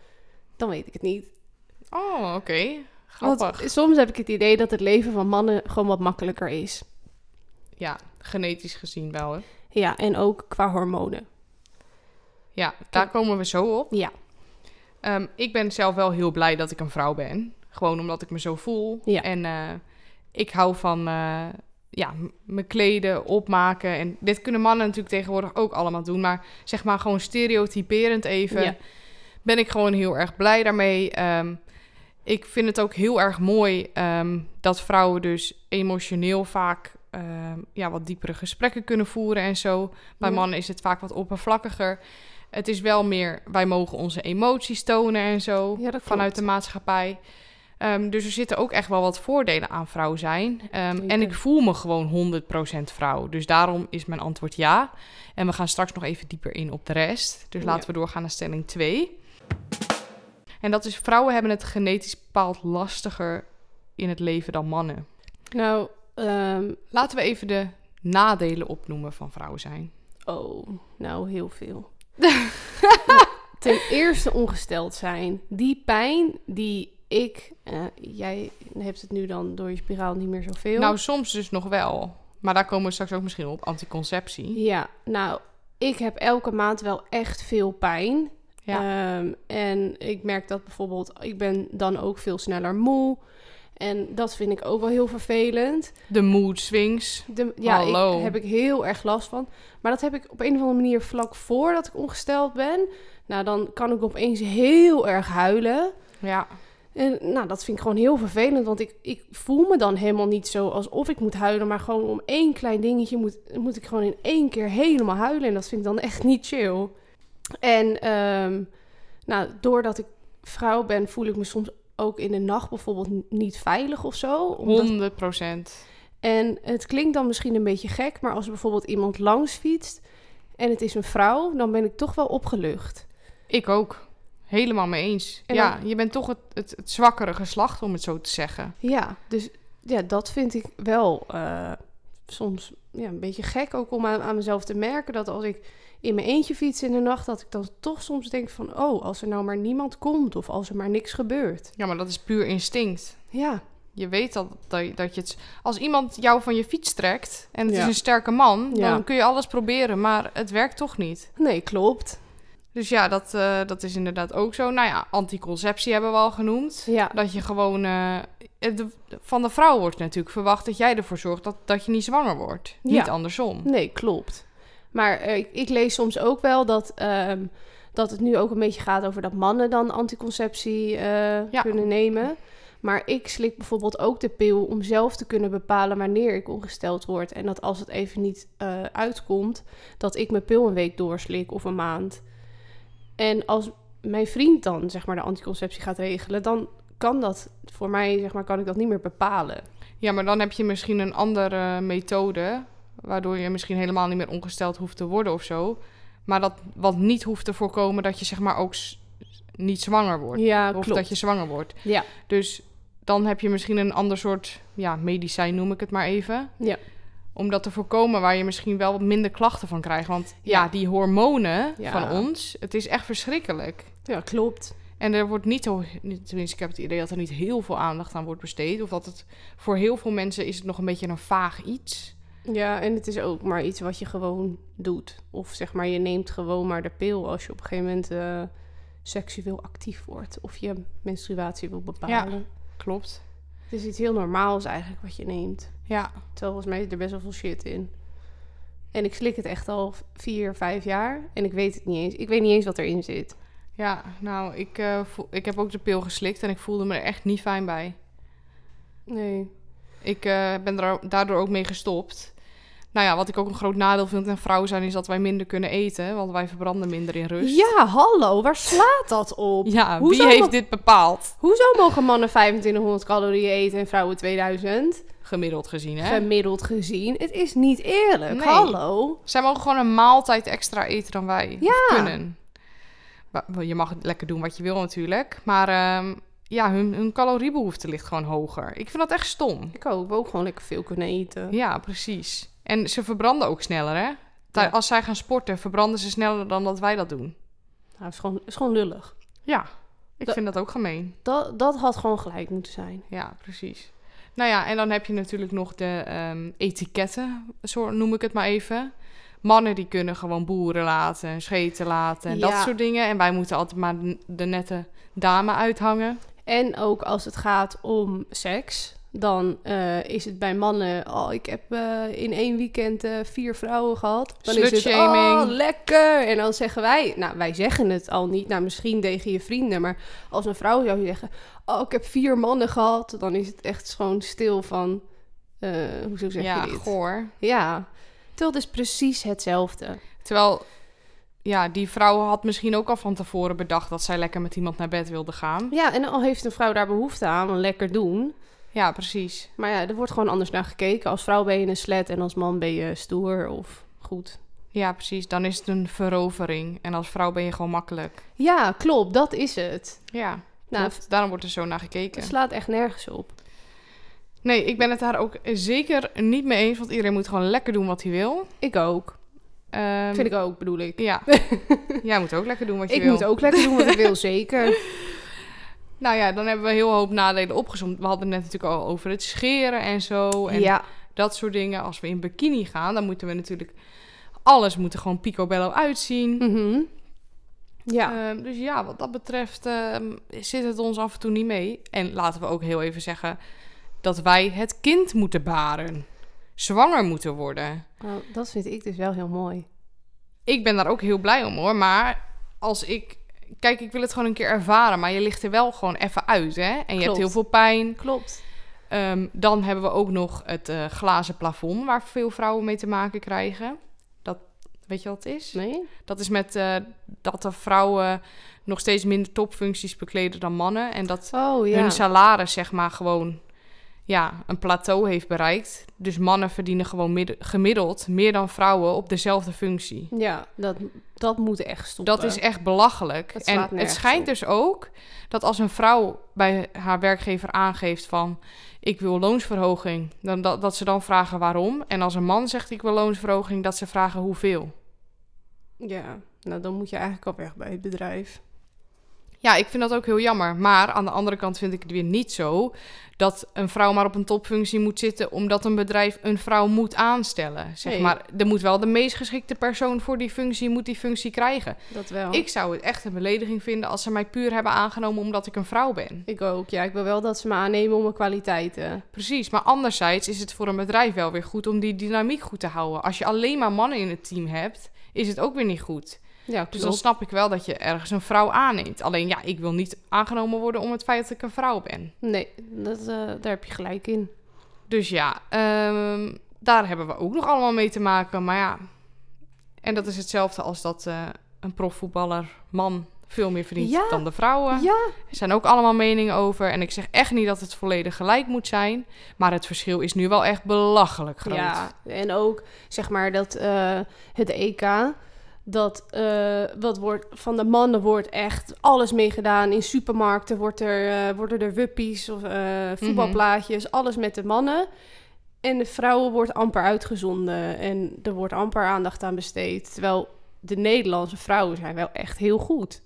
Speaker 2: Dan weet ik het niet.
Speaker 1: oh, oké.
Speaker 2: Want
Speaker 1: Grappig.
Speaker 2: soms heb ik het idee dat het leven van mannen gewoon wat makkelijker is.
Speaker 1: Ja, genetisch gezien wel, hè?
Speaker 2: Ja, en ook qua hormonen.
Speaker 1: Ja, daar komen we zo op.
Speaker 2: Ja.
Speaker 1: Ehm, ik ben zelf wel heel blij dat ik een vrouw ben. Gewoon omdat ik me zo voel.
Speaker 2: Ja.
Speaker 1: En eh, ik hou van eh, ja, m- me kleden, opmaken. En dit kunnen mannen natuurlijk tegenwoordig ook allemaal doen. Maar zeg maar gewoon stereotyperend even.
Speaker 2: Ja.
Speaker 1: Ben ik gewoon heel erg blij daarmee. Ehm, ik vind het ook heel erg mooi ehm, dat vrouwen dus emotioneel vaak ehm, ja, wat diepere gesprekken kunnen voeren en zo. Bij
Speaker 2: Ja.
Speaker 1: mannen is het vaak wat oppervlakkiger. Het is wel meer, wij mogen onze emoties tonen en zo
Speaker 2: Ja, dat
Speaker 1: vanuit
Speaker 2: klopt.
Speaker 1: de maatschappij. Ehm, dus er zitten ook echt wel wat voordelen aan vrouw zijn. Ehm, en
Speaker 2: Zeker.
Speaker 1: ik voel me gewoon 100% vrouw. Dus daarom is mijn antwoord ja. En we gaan straks nog even dieper in op de rest. Dus
Speaker 2: Ja.
Speaker 1: laten we doorgaan naar stelling 2. En dat is: vrouwen hebben het genetisch bepaald lastiger in het leven dan mannen.
Speaker 2: Nou, ehm,
Speaker 1: Laten we even de nadelen opnoemen van vrouw zijn.
Speaker 2: oh, nou heel veel. Ten eerste ongesteld zijn. Die pijn die ik, eh, jij hebt het nu dan door je spiraal niet meer zoveel.
Speaker 1: Nou, soms dus nog wel. Maar daar komen we straks ook misschien op. Anticonceptie.
Speaker 2: Ja, nou, ik heb elke maand wel echt veel pijn. Ehm, en ik merk dat bijvoorbeeld, ik ben dan ook veel sneller moe. En dat vind ik ook wel heel vervelend.
Speaker 1: De mood swings.
Speaker 2: De, ja, ik-
Speaker 1: Hallo.
Speaker 2: heb ik heel erg last van. Maar dat heb ik op een of andere manier vlak voordat ik ongesteld ben. Nou, dan kan ik opeens heel erg huilen.
Speaker 1: Ja.
Speaker 2: En nou, dat vind ik gewoon heel vervelend. Want ik, ik voel me dan helemaal niet zo alsof ik moet huilen. Maar gewoon om één klein dingetje moet, moet ik gewoon in één keer helemaal huilen. En dat vind ik dan echt niet chill. En ehm, nou, doordat ik vrouw ben, voel ik me soms ook in de nacht bijvoorbeeld n- niet veilig of zo. Omdat-
Speaker 1: 100 procent.
Speaker 2: en het klinkt dan misschien een beetje gek, maar als er bijvoorbeeld iemand langs fietst en het is een vrouw, dan ben ik toch wel opgelucht.
Speaker 1: Ik ook. Helemaal mee eens.
Speaker 2: En
Speaker 1: ja, je bent toch het, het, het zwakkere geslacht, om het zo te zeggen.
Speaker 2: Ja, dus ja, dat vind ik wel eh, soms ja, een beetje gek ook om aan, aan mezelf te merken dat als ik in mijn eentje fiets in de nacht, dat ik dan toch soms denk van, oh, als er nou maar niemand komt of als er maar niks gebeurt.
Speaker 1: Ja, maar dat is puur instinct.
Speaker 2: Ja,
Speaker 1: Je weet dat, dat, dat je het... Als iemand jou van je fiets trekt en het
Speaker 2: Ja.
Speaker 1: is een sterke man...
Speaker 2: Ja.
Speaker 1: dan kun je alles proberen, maar het werkt toch niet.
Speaker 2: nee, klopt.
Speaker 1: Dus ja, dat, eh, dat is inderdaad ook zo. Nou ja, anticonceptie hebben we al genoemd.
Speaker 2: Ja,
Speaker 1: Dat je gewoon... eh, het- de- van de vrouw wordt natuurlijk verwacht dat jij ervoor zorgt dat, dat je niet zwanger wordt.
Speaker 2: Ja.
Speaker 1: Niet andersom.
Speaker 2: Nee, klopt. Maar eh, ik, ik lees soms ook wel dat, ehm, dat het nu ook een beetje gaat over dat mannen dan anticonceptie eh,
Speaker 1: Ja.
Speaker 2: kunnen nemen. Maar ik slik bijvoorbeeld ook de pil om zelf te kunnen bepalen wanneer ik ongesteld word. En dat als het even niet eh, uitkomt, dat ik mijn pil een week doorslik of een maand. En als mijn vriend dan zeg maar de anticonceptie gaat regelen, dan kan dat voor mij, zeg maar, kan ik dat niet meer bepalen.
Speaker 1: Ja, maar dan heb je misschien een andere methode. Waardoor je misschien helemaal niet meer ongesteld hoeft te worden of zo. Maar dat wat niet hoeft te voorkomen dat je zeg maar ook s- niet zwanger wordt.
Speaker 2: Ja,
Speaker 1: of dat je zwanger wordt.
Speaker 2: Ja.
Speaker 1: Dus dan heb je misschien een ander soort ja, medicijn, noem ik het maar even.
Speaker 2: Ja.
Speaker 1: Om dat te voorkomen waar je misschien wel wat minder klachten van krijgt. Want ja,
Speaker 2: Ja.
Speaker 1: die hormonen
Speaker 2: Ja.
Speaker 1: van ons, het is echt verschrikkelijk.
Speaker 2: Ja, klopt.
Speaker 1: En er wordt niet, zo- niet- tenminste, ik heb het idee dat er niet heel veel aandacht aan wordt besteed. Of dat het voor heel veel mensen is het nog een beetje een vaag iets.
Speaker 2: Ja, en het is ook maar iets wat je gewoon doet. Of zeg maar, je neemt gewoon maar de pil als je op een gegeven moment eh, seksueel actief wordt. Of je menstruatie wil bepalen.
Speaker 1: Klopt.
Speaker 2: Het is iets heel normaals eigenlijk wat je neemt.
Speaker 1: Ja.
Speaker 2: Terwijl volgens mij zit er best wel veel shit in. En ik slik het echt al vier, vijf jaar. En ik weet het niet eens. Ik weet niet eens wat erin zit.
Speaker 1: Ja, nou, ik, eh, voel- ik heb ook de pil geslikt en ik voelde me er echt niet fijn bij.
Speaker 2: Nee.
Speaker 1: Ik eh, ben er o- daardoor ook mee gestopt. Nou ja, wat ik ook een groot nadeel vind aan vrouwen zijn, is dat wij minder kunnen eten. Want wij verbranden minder in rust.
Speaker 2: Ja, hallo, waar slaat dat op?
Speaker 1: Ja,
Speaker 2: Hoezo
Speaker 1: wie heeft
Speaker 2: mag-
Speaker 1: dit bepaald?
Speaker 2: Hoezo mogen mannen 2500 calorieën eten en vrouwen 2000?
Speaker 1: Gemiddeld gezien, hè?
Speaker 2: Gemiddeld gezien. Het is niet eerlijk.
Speaker 1: Nee.
Speaker 2: Hallo.
Speaker 1: Zij mogen gewoon een maaltijd extra eten dan wij
Speaker 2: Ja.
Speaker 1: kunnen. Wa- wel, Je mag lekker doen wat je wil natuurlijk. Maar ehm, ja, hun, hun caloriebehoefte ligt gewoon hoger. Ik vind dat echt stom.
Speaker 2: Ik hoop ook gewoon lekker veel kunnen eten.
Speaker 1: Ja, precies. En ze verbranden ook sneller, hè? Tij-
Speaker 2: Ja.
Speaker 1: Als zij gaan sporten, verbranden ze sneller dan dat wij dat doen.
Speaker 2: Nou, het is gewoon, het is gewoon lullig.
Speaker 1: Ja, ik
Speaker 2: Dat-
Speaker 1: vind dat ook gemeen.
Speaker 2: Dat, dat had gewoon gelijk moeten zijn.
Speaker 1: Ja, precies. Nou ja, en dan heb je natuurlijk nog de ehm, etiketten, zo noem ik het maar even. Mannen die kunnen gewoon boeren laten, en scheten laten en dat
Speaker 2: Ja.
Speaker 1: soort dingen. En wij moeten altijd maar de- de nette dame uithangen.
Speaker 2: En ook als het gaat om seks, dan eh, is het bij mannen... Oh, ik heb eh, in één weekend eh, vier vrouwen gehad. Dan is het, oh,
Speaker 1: Slutshaming.
Speaker 2: lekker. En dan zeggen wij... Nou, wij zeggen het al niet. Nou, misschien tegen je vrienden. Maar als een vrouw zou zeggen... Oh, ik heb vier mannen gehad. Dan is het echt gewoon stil van... eh, hoe zou zeg
Speaker 1: ja,
Speaker 2: je dit?
Speaker 1: goor.
Speaker 2: Ja. Terwijl het is precies hetzelfde.
Speaker 1: Terwijl, ja, die vrouw had misschien ook al van tevoren bedacht dat zij lekker met iemand naar bed wilde gaan.
Speaker 2: Ja, en al heeft een vrouw daar behoefte aan, want lekker doen.
Speaker 1: Ja, precies.
Speaker 2: Maar ja, er wordt gewoon anders naar gekeken. Als vrouw ben je een slet en als man ben je stoer of goed.
Speaker 1: Ja, precies. Dan is het een verovering. En als vrouw ben je gewoon makkelijk.
Speaker 2: Ja, klopt, dat is het.
Speaker 1: Ja,
Speaker 2: Nou,
Speaker 1: klopt. daarom wordt er zo naar gekeken.
Speaker 2: het slaat echt nergens op.
Speaker 1: Nee, ik ben het daar ook zeker niet mee eens. Want iedereen moet gewoon lekker doen wat hij wil.
Speaker 2: Ik ook.
Speaker 1: Ehm,
Speaker 2: Vind ik ook, bedoel ik.
Speaker 1: Ja. Jij moet ook lekker doen wat je
Speaker 2: Ik
Speaker 1: wil.
Speaker 2: moet ook lekker doen wat ik wil, zeker.
Speaker 1: Nou ja, dan hebben we heel hoop nadelen opgezomd. We hadden het net natuurlijk al over het scheren en zo. En
Speaker 2: Ja,
Speaker 1: dat soort dingen. Als we in bikini gaan, dan moeten we natuurlijk... Alles moet er gewoon picobello uitzien.
Speaker 2: mhm. ja.
Speaker 1: Ehm, dus ja, wat dat betreft ehm, zit het ons af en toe niet mee. En laten we ook heel even zeggen dat wij het kind moeten baren. Zwanger moeten worden.
Speaker 2: Nou, dat vind ik dus wel heel mooi.
Speaker 1: ik ben daar ook heel blij om hoor. Maar als ik. Kijk, ik wil het gewoon een keer ervaren. Maar je ligt er wel gewoon even uit, hè? En je hebt
Speaker 2: Klopt.
Speaker 1: heel veel pijn.
Speaker 2: Klopt.
Speaker 1: Ehm, dan hebben we ook nog het eh, glazen plafond, waar veel vrouwen mee te maken krijgen. Dat, weet je wat het is?
Speaker 2: Nee?
Speaker 1: Dat is met eh, dat de vrouwen nog steeds minder topfuncties bekleden dan mannen. En dat
Speaker 2: Oh ja.
Speaker 1: hun salaris, zeg maar, gewoon ja, een plateau heeft bereikt. Dus mannen verdienen gewoon midden- gemiddeld meer dan vrouwen op dezelfde functie.
Speaker 2: Ja, dat, dat moet echt stoppen.
Speaker 1: Dat is echt belachelijk.
Speaker 2: Het slaat
Speaker 1: en het
Speaker 2: nergens
Speaker 1: schijnt
Speaker 2: op.
Speaker 1: dus ook dat als een vrouw bij haar werkgever aangeeft van ik wil loonsverhoging, dan dat, dat ze dan vragen waarom. En als een man zegt ik wil loonsverhoging, dat ze vragen hoeveel.
Speaker 2: Ja, nou dan moet je eigenlijk al weg bij het bedrijf.
Speaker 1: Ja, ik vind dat ook heel jammer. Maar aan de andere kant vind ik het weer niet zo dat een vrouw maar op een topfunctie moet zitten omdat een bedrijf een vrouw moet aanstellen. Zeg
Speaker 2: Nee.
Speaker 1: maar, er moet wel de meest geschikte persoon voor die functie, moet die functie krijgen.
Speaker 2: Dat wel.
Speaker 1: Ik zou het echt een belediging vinden als ze mij puur hebben aangenomen omdat ik een vrouw ben.
Speaker 2: Ik ook, ja. Ik wil wel dat ze me aannemen om mijn kwaliteiten.
Speaker 1: Precies, maar anderzijds is het voor een bedrijf wel weer goed om die dynamiek goed te houden. Als je alleen maar mannen in het team hebt, is het ook weer niet goed.
Speaker 2: Ja,
Speaker 1: Dus dan snap ik wel dat je ergens een vrouw aanneemt. Alleen ja, ik wil niet aangenomen worden om het feit dat ik een vrouw ben.
Speaker 2: Nee, dat, eh, daar heb je gelijk in.
Speaker 1: Dus ja, ehm, daar hebben we ook nog allemaal mee te maken. Maar ja, en dat is hetzelfde als dat eh, een profvoetballer man veel meer verdient
Speaker 2: Ja,
Speaker 1: dan de vrouwen.
Speaker 2: Ja,
Speaker 1: Er zijn ook allemaal meningen over. En ik zeg echt niet dat het volledig gelijk moet zijn. Maar het verschil is nu wel echt belachelijk groot.
Speaker 2: ja. En ook, zeg maar, dat eh, het EK, dat eh, wat wordt, van de mannen wordt echt alles meegedaan. In supermarkten wordt er, eh, worden er wuppies of eh, voetbalplaatjes, alles met de mannen. En de vrouwen wordt amper uitgezonden en er wordt amper aandacht aan besteed. Terwijl de Nederlandse vrouwen zijn wel echt heel goed.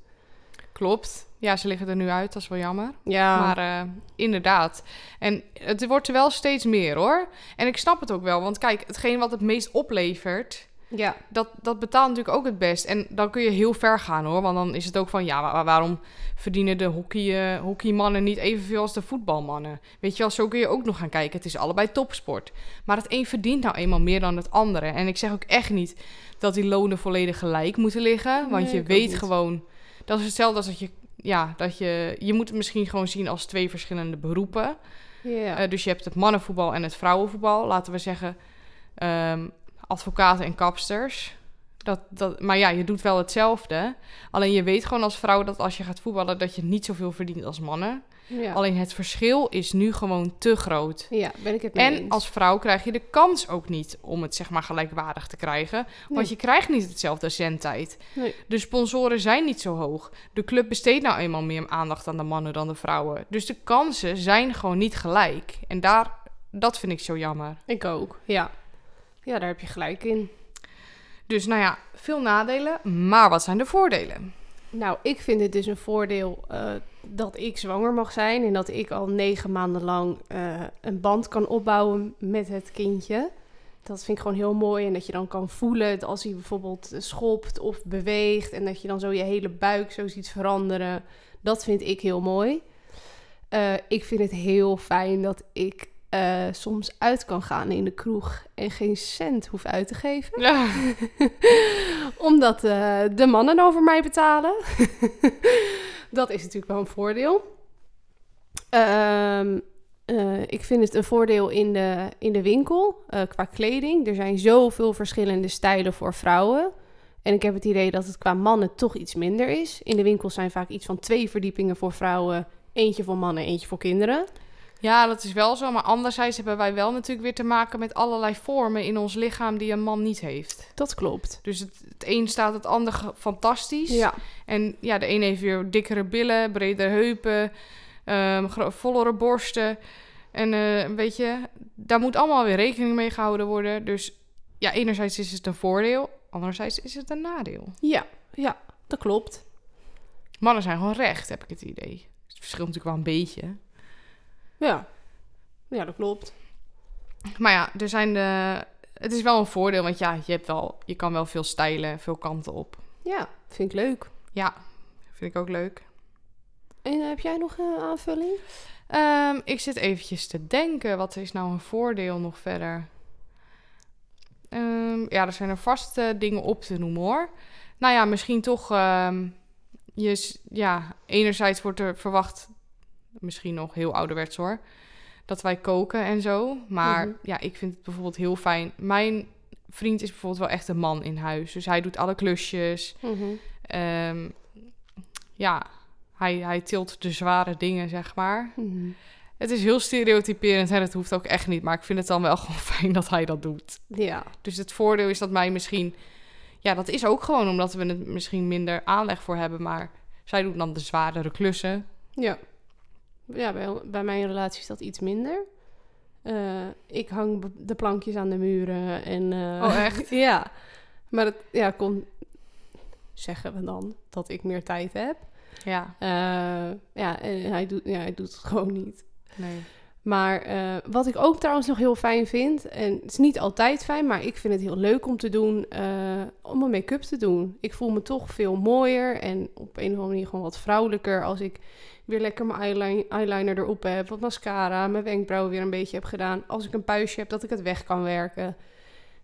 Speaker 1: Klopt. Ja, ze liggen er nu uit. Dat is wel jammer.
Speaker 2: Ja,
Speaker 1: Maar eh, inderdaad. En het wordt er wel steeds meer hoor. En ik snap het ook wel. Want kijk, hetgeen wat het meest oplevert.
Speaker 2: ja.
Speaker 1: Dat, dat betaalt natuurlijk ook het best. En dan kun je heel ver gaan hoor. Want dan is het ook van ja, maar waarom verdienen de hockey, eh, hockeymannen niet evenveel als de voetbalmannen? Weet je wel, zo kun je ook nog gaan kijken. Het is allebei topsport. Maar het een verdient nou eenmaal meer dan het andere. En ik zeg ook echt niet dat die lonen volledig gelijk moeten liggen. Want
Speaker 2: Nee,
Speaker 1: je
Speaker 2: ik ook
Speaker 1: weet
Speaker 2: niet.
Speaker 1: gewoon. Dat is hetzelfde als dat je. Ja, dat je. Je moet het misschien gewoon zien als twee verschillende beroepen.
Speaker 2: ja.
Speaker 1: Eh, dus je hebt het mannenvoetbal en het vrouwenvoetbal. Laten we zeggen, ehm, advocaten en kapsters. Dat, dat, maar ja, je doet wel hetzelfde. Alleen je weet gewoon als vrouw dat als je gaat voetballen... dat je niet zoveel verdient als mannen.
Speaker 2: Ja,
Speaker 1: Alleen het verschil is nu gewoon te groot.
Speaker 2: ja ben ik het mee
Speaker 1: En
Speaker 2: eens.
Speaker 1: als vrouw krijg je de kans ook niet om het zeg maar gelijkwaardig te krijgen. Want
Speaker 2: Nee.
Speaker 1: je krijgt niet hetzelfde zendtijd.
Speaker 2: Nee.
Speaker 1: De sponsoren zijn niet zo hoog. De club besteedt nou eenmaal meer aandacht aan de mannen dan de vrouwen. Dus de kansen zijn gewoon niet gelijk. En daar, dat vind ik zo jammer.
Speaker 2: Ik ook, ja. Ja, daar heb je gelijk in.
Speaker 1: Dus nou ja, veel nadelen. Maar wat zijn de voordelen?
Speaker 2: Nou, ik vind het dus een voordeel eh, dat ik zwanger mag zijn en dat ik al negen maanden lang eh, een band kan opbouwen met het kindje. Dat vind ik gewoon heel mooi en dat je dan kan voelen dat als hij bijvoorbeeld schopt of beweegt en dat je dan zo je hele buik zo ziet veranderen. Dat vind ik heel mooi. Eh, ik vind het heel fijn dat ik eh, soms uit kan gaan in de kroeg en geen cent hoef uit te geven omdat eh, de mannen over mij betalen. dat is natuurlijk wel een voordeel. Ehm, eh, ik vind het een voordeel in de, in de winkel eh, qua kleding. Er zijn zoveel verschillende stijlen voor vrouwen. En ik heb het idee dat het qua mannen toch iets minder is. In de winkels zijn vaak iets van twee verdiepingen voor vrouwen. Eentje voor mannen, eentje voor kinderen.
Speaker 1: Ja, dat is wel zo. Maar anderzijds hebben wij wel natuurlijk weer te maken met allerlei vormen in ons lichaam die een man niet heeft.
Speaker 2: Dat klopt.
Speaker 1: Dus het, het een staat het ander ge- fantastisch.
Speaker 2: Ja,
Speaker 1: En ja, de een heeft weer dikkere billen, bredere heupen, ehm, gro- vollere borsten. En eh, weet je, daar moet allemaal weer rekening mee gehouden worden. Dus ja, enerzijds is het een voordeel, anderzijds is het een nadeel.
Speaker 2: ja, ja, dat klopt.
Speaker 1: Mannen zijn gewoon recht, heb ik het idee. Het verschilt natuurlijk wel een beetje.
Speaker 2: Ja, ja dat klopt.
Speaker 1: Maar ja, er zijn de... het is wel een voordeel, want ja, je, hebt wel, je kan wel veel stijlen, veel kanten op.
Speaker 2: Ja, vind ik leuk.
Speaker 1: Ja, vind ik ook leuk.
Speaker 2: En eh, heb jij nog een aanvulling?
Speaker 1: Ehm, ik zit eventjes te denken, wat is nou een voordeel nog verder? Ehm, ja, er zijn er vast eh, dingen op te noemen hoor. Nou ja, misschien toch. ehm, je, s- ja, enerzijds wordt er verwacht, misschien nog heel ouderwets hoor, dat wij koken en zo. Maar
Speaker 2: Mhm.
Speaker 1: ja, ik vind het bijvoorbeeld heel fijn. Mijn vriend is bijvoorbeeld wel echt een man in huis. Dus hij doet alle klusjes. Ehm, ja, hij, hij tilt de zware dingen, zeg maar.
Speaker 2: Mhm.
Speaker 1: Het is heel stereotyperend en het hoeft ook echt niet. Maar ik vind het dan wel gewoon fijn dat hij dat doet.
Speaker 2: Ja,
Speaker 1: Dus het voordeel is dat mij misschien... Ja, dat is ook gewoon omdat we het misschien minder aanleg voor hebben. Maar zij doet dan de zwaardere klussen.
Speaker 2: ja. Ja, bij, bij mijn relatie is dat iets minder. Eh, ik hang b- de plankjes aan de muren en... eh,
Speaker 1: Oh, echt?
Speaker 2: ja. Maar het ja, kon... Zeggen we dan dat ik meer tijd heb.
Speaker 1: Ja,
Speaker 2: Eh, ja, en hij doet, ja, hij doet het gewoon niet.
Speaker 1: nee.
Speaker 2: Maar eh, wat ik ook trouwens nog heel fijn vind, en het is niet altijd fijn, maar ik vind het heel leuk om te doen, eh, om mijn make-up te doen. Ik voel me toch veel mooier en op een of andere manier gewoon wat vrouwelijker als ik weer lekker mijn eyelin- eyeliner erop heb, wat mascara, mijn wenkbrauwen weer een beetje heb gedaan. Als ik een puistje heb, dat ik het weg kan werken.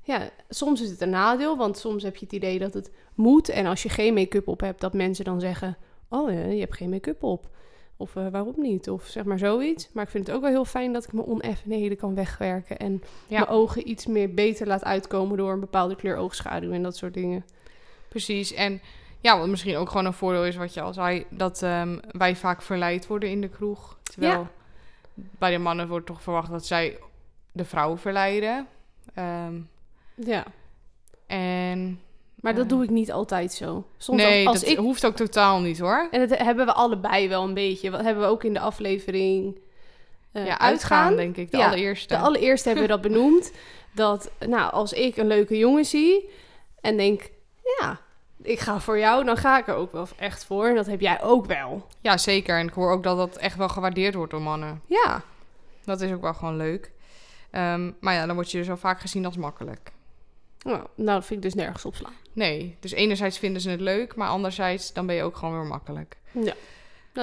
Speaker 2: Ja, soms is het een nadeel, want soms heb je het idee dat het moet. En als je geen make-up op hebt, dat mensen dan zeggen, oh eh, je hebt geen make-up op. Of eh, waarom niet? Of zeg maar zoiets. Maar ik vind het ook wel heel fijn dat ik mijn oneffenheden kan wegwerken. En
Speaker 1: Ja.
Speaker 2: mijn ogen iets meer beter laat uitkomen door een bepaalde kleur oogschaduw en dat soort dingen.
Speaker 1: Precies. En ja, wat misschien ook gewoon een voordeel is wat je al zei... dat ehm, wij vaak verleid worden in de kroeg. Terwijl bij de mannen wordt toch verwacht dat zij de vrouwen verleiden. Ehm,
Speaker 2: Ja.
Speaker 1: en
Speaker 2: Maar dat
Speaker 1: Ja.
Speaker 2: doe ik niet altijd zo. Soms
Speaker 1: nee,
Speaker 2: als,
Speaker 1: dat
Speaker 2: als ik...
Speaker 1: hoeft ook totaal niet hoor.
Speaker 2: En dat hebben we allebei wel een beetje. Dat hebben we ook in de aflevering eh,
Speaker 1: ja,
Speaker 2: uitgaan.
Speaker 1: uitgaan denk ik, de
Speaker 2: Ja,
Speaker 1: allereerste.
Speaker 2: De allereerste hebben we dat benoemd. Dat, nou, als ik een leuke jongen zie en denk, ja, ik ga voor jou, dan ga ik er ook wel echt voor. En dat heb jij ook wel.
Speaker 1: Ja, zeker. En ik hoor ook dat dat echt wel gewaardeerd wordt door mannen.
Speaker 2: Ja.
Speaker 1: Dat is ook wel gewoon leuk. Ehm, maar ja, dan word je dus al vaak gezien als makkelijk.
Speaker 2: Nou, nou, dat vind ik dus nergens op slaan.
Speaker 1: Nee, dus enerzijds vinden ze het leuk, maar anderzijds dan ben je ook gewoon weer makkelijk.
Speaker 2: Nou,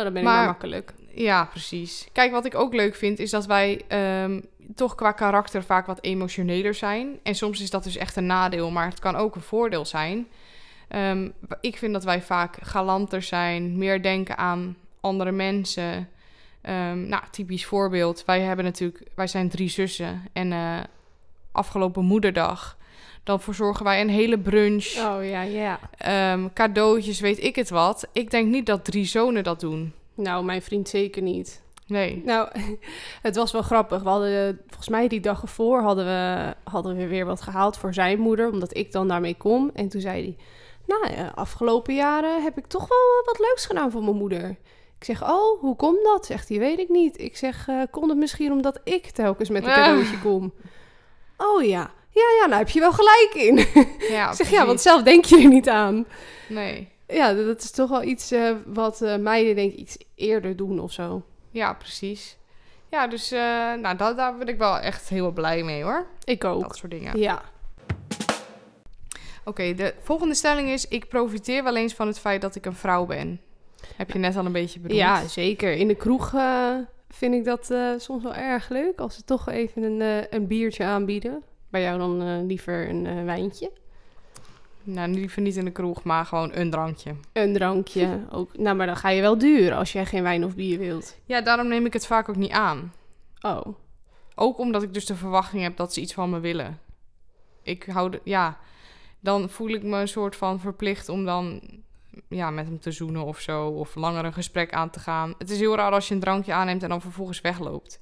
Speaker 2: dan ben
Speaker 1: Maar-
Speaker 2: ik maar makkelijk.
Speaker 1: Ja, precies. Kijk, wat ik ook leuk vind is dat wij ehm, toch qua karakter vaak wat emotioneler zijn. En soms is dat dus echt een nadeel, maar het kan ook een voordeel zijn. Ehm, ik vind dat wij vaak galanter zijn, meer denken aan andere mensen. Ehm, nou, typisch voorbeeld. Wij hebben natuurlijk, wij zijn drie zussen en eh, afgelopen moederdag. Dan verzorgen wij een hele brunch,
Speaker 2: Oh ja, ja.
Speaker 1: ehm, cadeautjes, weet ik het wat. Ik denk niet dat drie zonen dat doen.
Speaker 2: Nou, mijn vriend zeker niet.
Speaker 1: Nee.
Speaker 2: Nou, het was wel grappig. We hadden, eh, volgens mij die dag ervoor hadden we, hadden we weer wat gehaald voor zijn moeder, omdat ik dan daarmee kom. En toen zei hij, nou, eh, afgelopen jaren heb ik toch wel eh, wat leuks gedaan voor mijn moeder. Ik zeg, oh, hoe komt dat? Zegt hij, weet ik niet. Ik zeg, eh kon het misschien omdat ik telkens met een
Speaker 1: Ah.
Speaker 2: cadeautje kom? Oh ja, ja, ja, nou heb je wel gelijk in.
Speaker 1: Ja,
Speaker 2: ik zeg, ja, want
Speaker 1: precies.
Speaker 2: zelf denk je er niet aan.
Speaker 1: Nee.
Speaker 2: Ja, d- dat is toch wel iets eh, wat eh, meiden denk ik iets eerder doen of zo.
Speaker 1: Ja, precies. Ja, dus eh, nou, da- daar ben ik wel echt heel blij mee hoor.
Speaker 2: Ik ook.
Speaker 1: Dat soort dingen.
Speaker 2: ja.
Speaker 1: Oké, de volgende stelling is: ik profiteer wel eens van het feit dat ik een vrouw ben. Heb je net al een beetje bedoeld?
Speaker 2: Ja, zeker. In de kroeg eh, vind ik dat eh, soms wel erg leuk. Als ze toch even een, eh, een biertje aanbieden. Bij jou dan eh, liever een eh, wijntje.
Speaker 1: Nou, liever niet in de kroeg, maar gewoon een drankje.
Speaker 2: Een drankje ook. Nou, maar dan ga je wel duur als jij geen wijn of bier wilt.
Speaker 1: Ja, daarom neem ik het vaak ook niet aan.
Speaker 2: Oh,
Speaker 1: Ook omdat ik dus de verwachting heb dat ze iets van me willen. Ik hou de, ja, dan voel ik me een soort van verplicht om dan ja, met hem te zoenen of zo. Of langer een gesprek aan te gaan. Het is heel raar als je een drankje aanneemt en dan vervolgens wegloopt.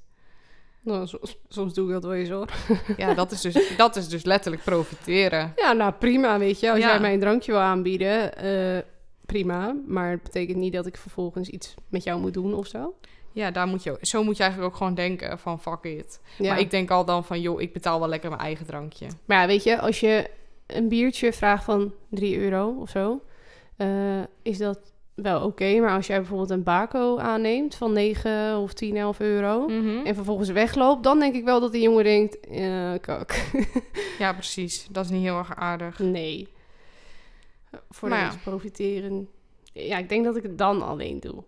Speaker 2: nou, soms, soms doe ik dat wel eens hoor.
Speaker 1: Ja, dat is dus, dat is dus letterlijk profiteren.
Speaker 2: Ja, nou prima, weet je. Als
Speaker 1: Ja.
Speaker 2: jij mij een drankje wil aanbieden, eh, prima. Maar het betekent niet dat ik vervolgens iets met jou moet doen of zo.
Speaker 1: Ja, daar moet je, zo moet je eigenlijk ook gewoon denken van fuck it.
Speaker 2: Ja.
Speaker 1: Maar ik denk al dan van joh, ik betaal wel lekker mijn eigen drankje.
Speaker 2: Maar ja, weet je, als je een biertje vraagt van 3 euro of zo, eh, is dat wel oké. Maar als jij bijvoorbeeld een bako aanneemt van 9 of 10, 11 euro
Speaker 1: Mhm.
Speaker 2: en vervolgens wegloopt, dan denk ik wel dat die jongen denkt, eh kak,
Speaker 1: Ja, precies. Dat is niet heel erg aardig.
Speaker 2: nee. Voor
Speaker 1: Maar
Speaker 2: de
Speaker 1: ja.
Speaker 2: rest profiteren. Ja, ik denk dat ik het dan alleen doe.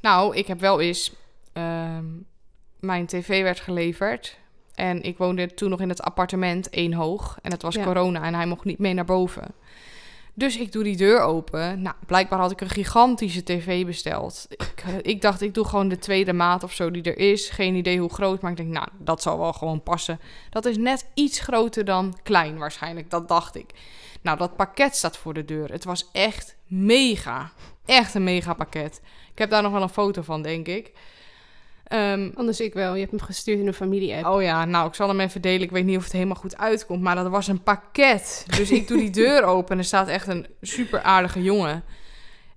Speaker 1: Nou, ik heb wel eens. ehm, mijn tv werd geleverd. En ik woonde toen nog in het appartement één hoog. En het was
Speaker 2: Ja.
Speaker 1: corona en hij mocht niet mee naar boven. Dus ik doe die deur open. Nou, blijkbaar had ik een gigantische tv besteld. Ik, eh, ik dacht, ik doe gewoon de tweede maat of zo die er is. Geen idee hoe groot, maar ik denk, nou, dat zal wel gewoon passen. Dat is net iets groter dan klein waarschijnlijk, dat dacht ik. Nou, dat pakket staat voor de deur. Het was echt mega. Echt een mega pakket. Ik heb daar nog wel een foto van, denk ik. Ehm,
Speaker 2: Anders ik wel. Je hebt hem gestuurd in een familie-app.
Speaker 1: oh ja, nou, ik zal hem even delen. Ik weet niet of het helemaal goed uitkomt, maar dat was een pakket. Dus ik doe die deur open en er staat echt een super aardige jongen.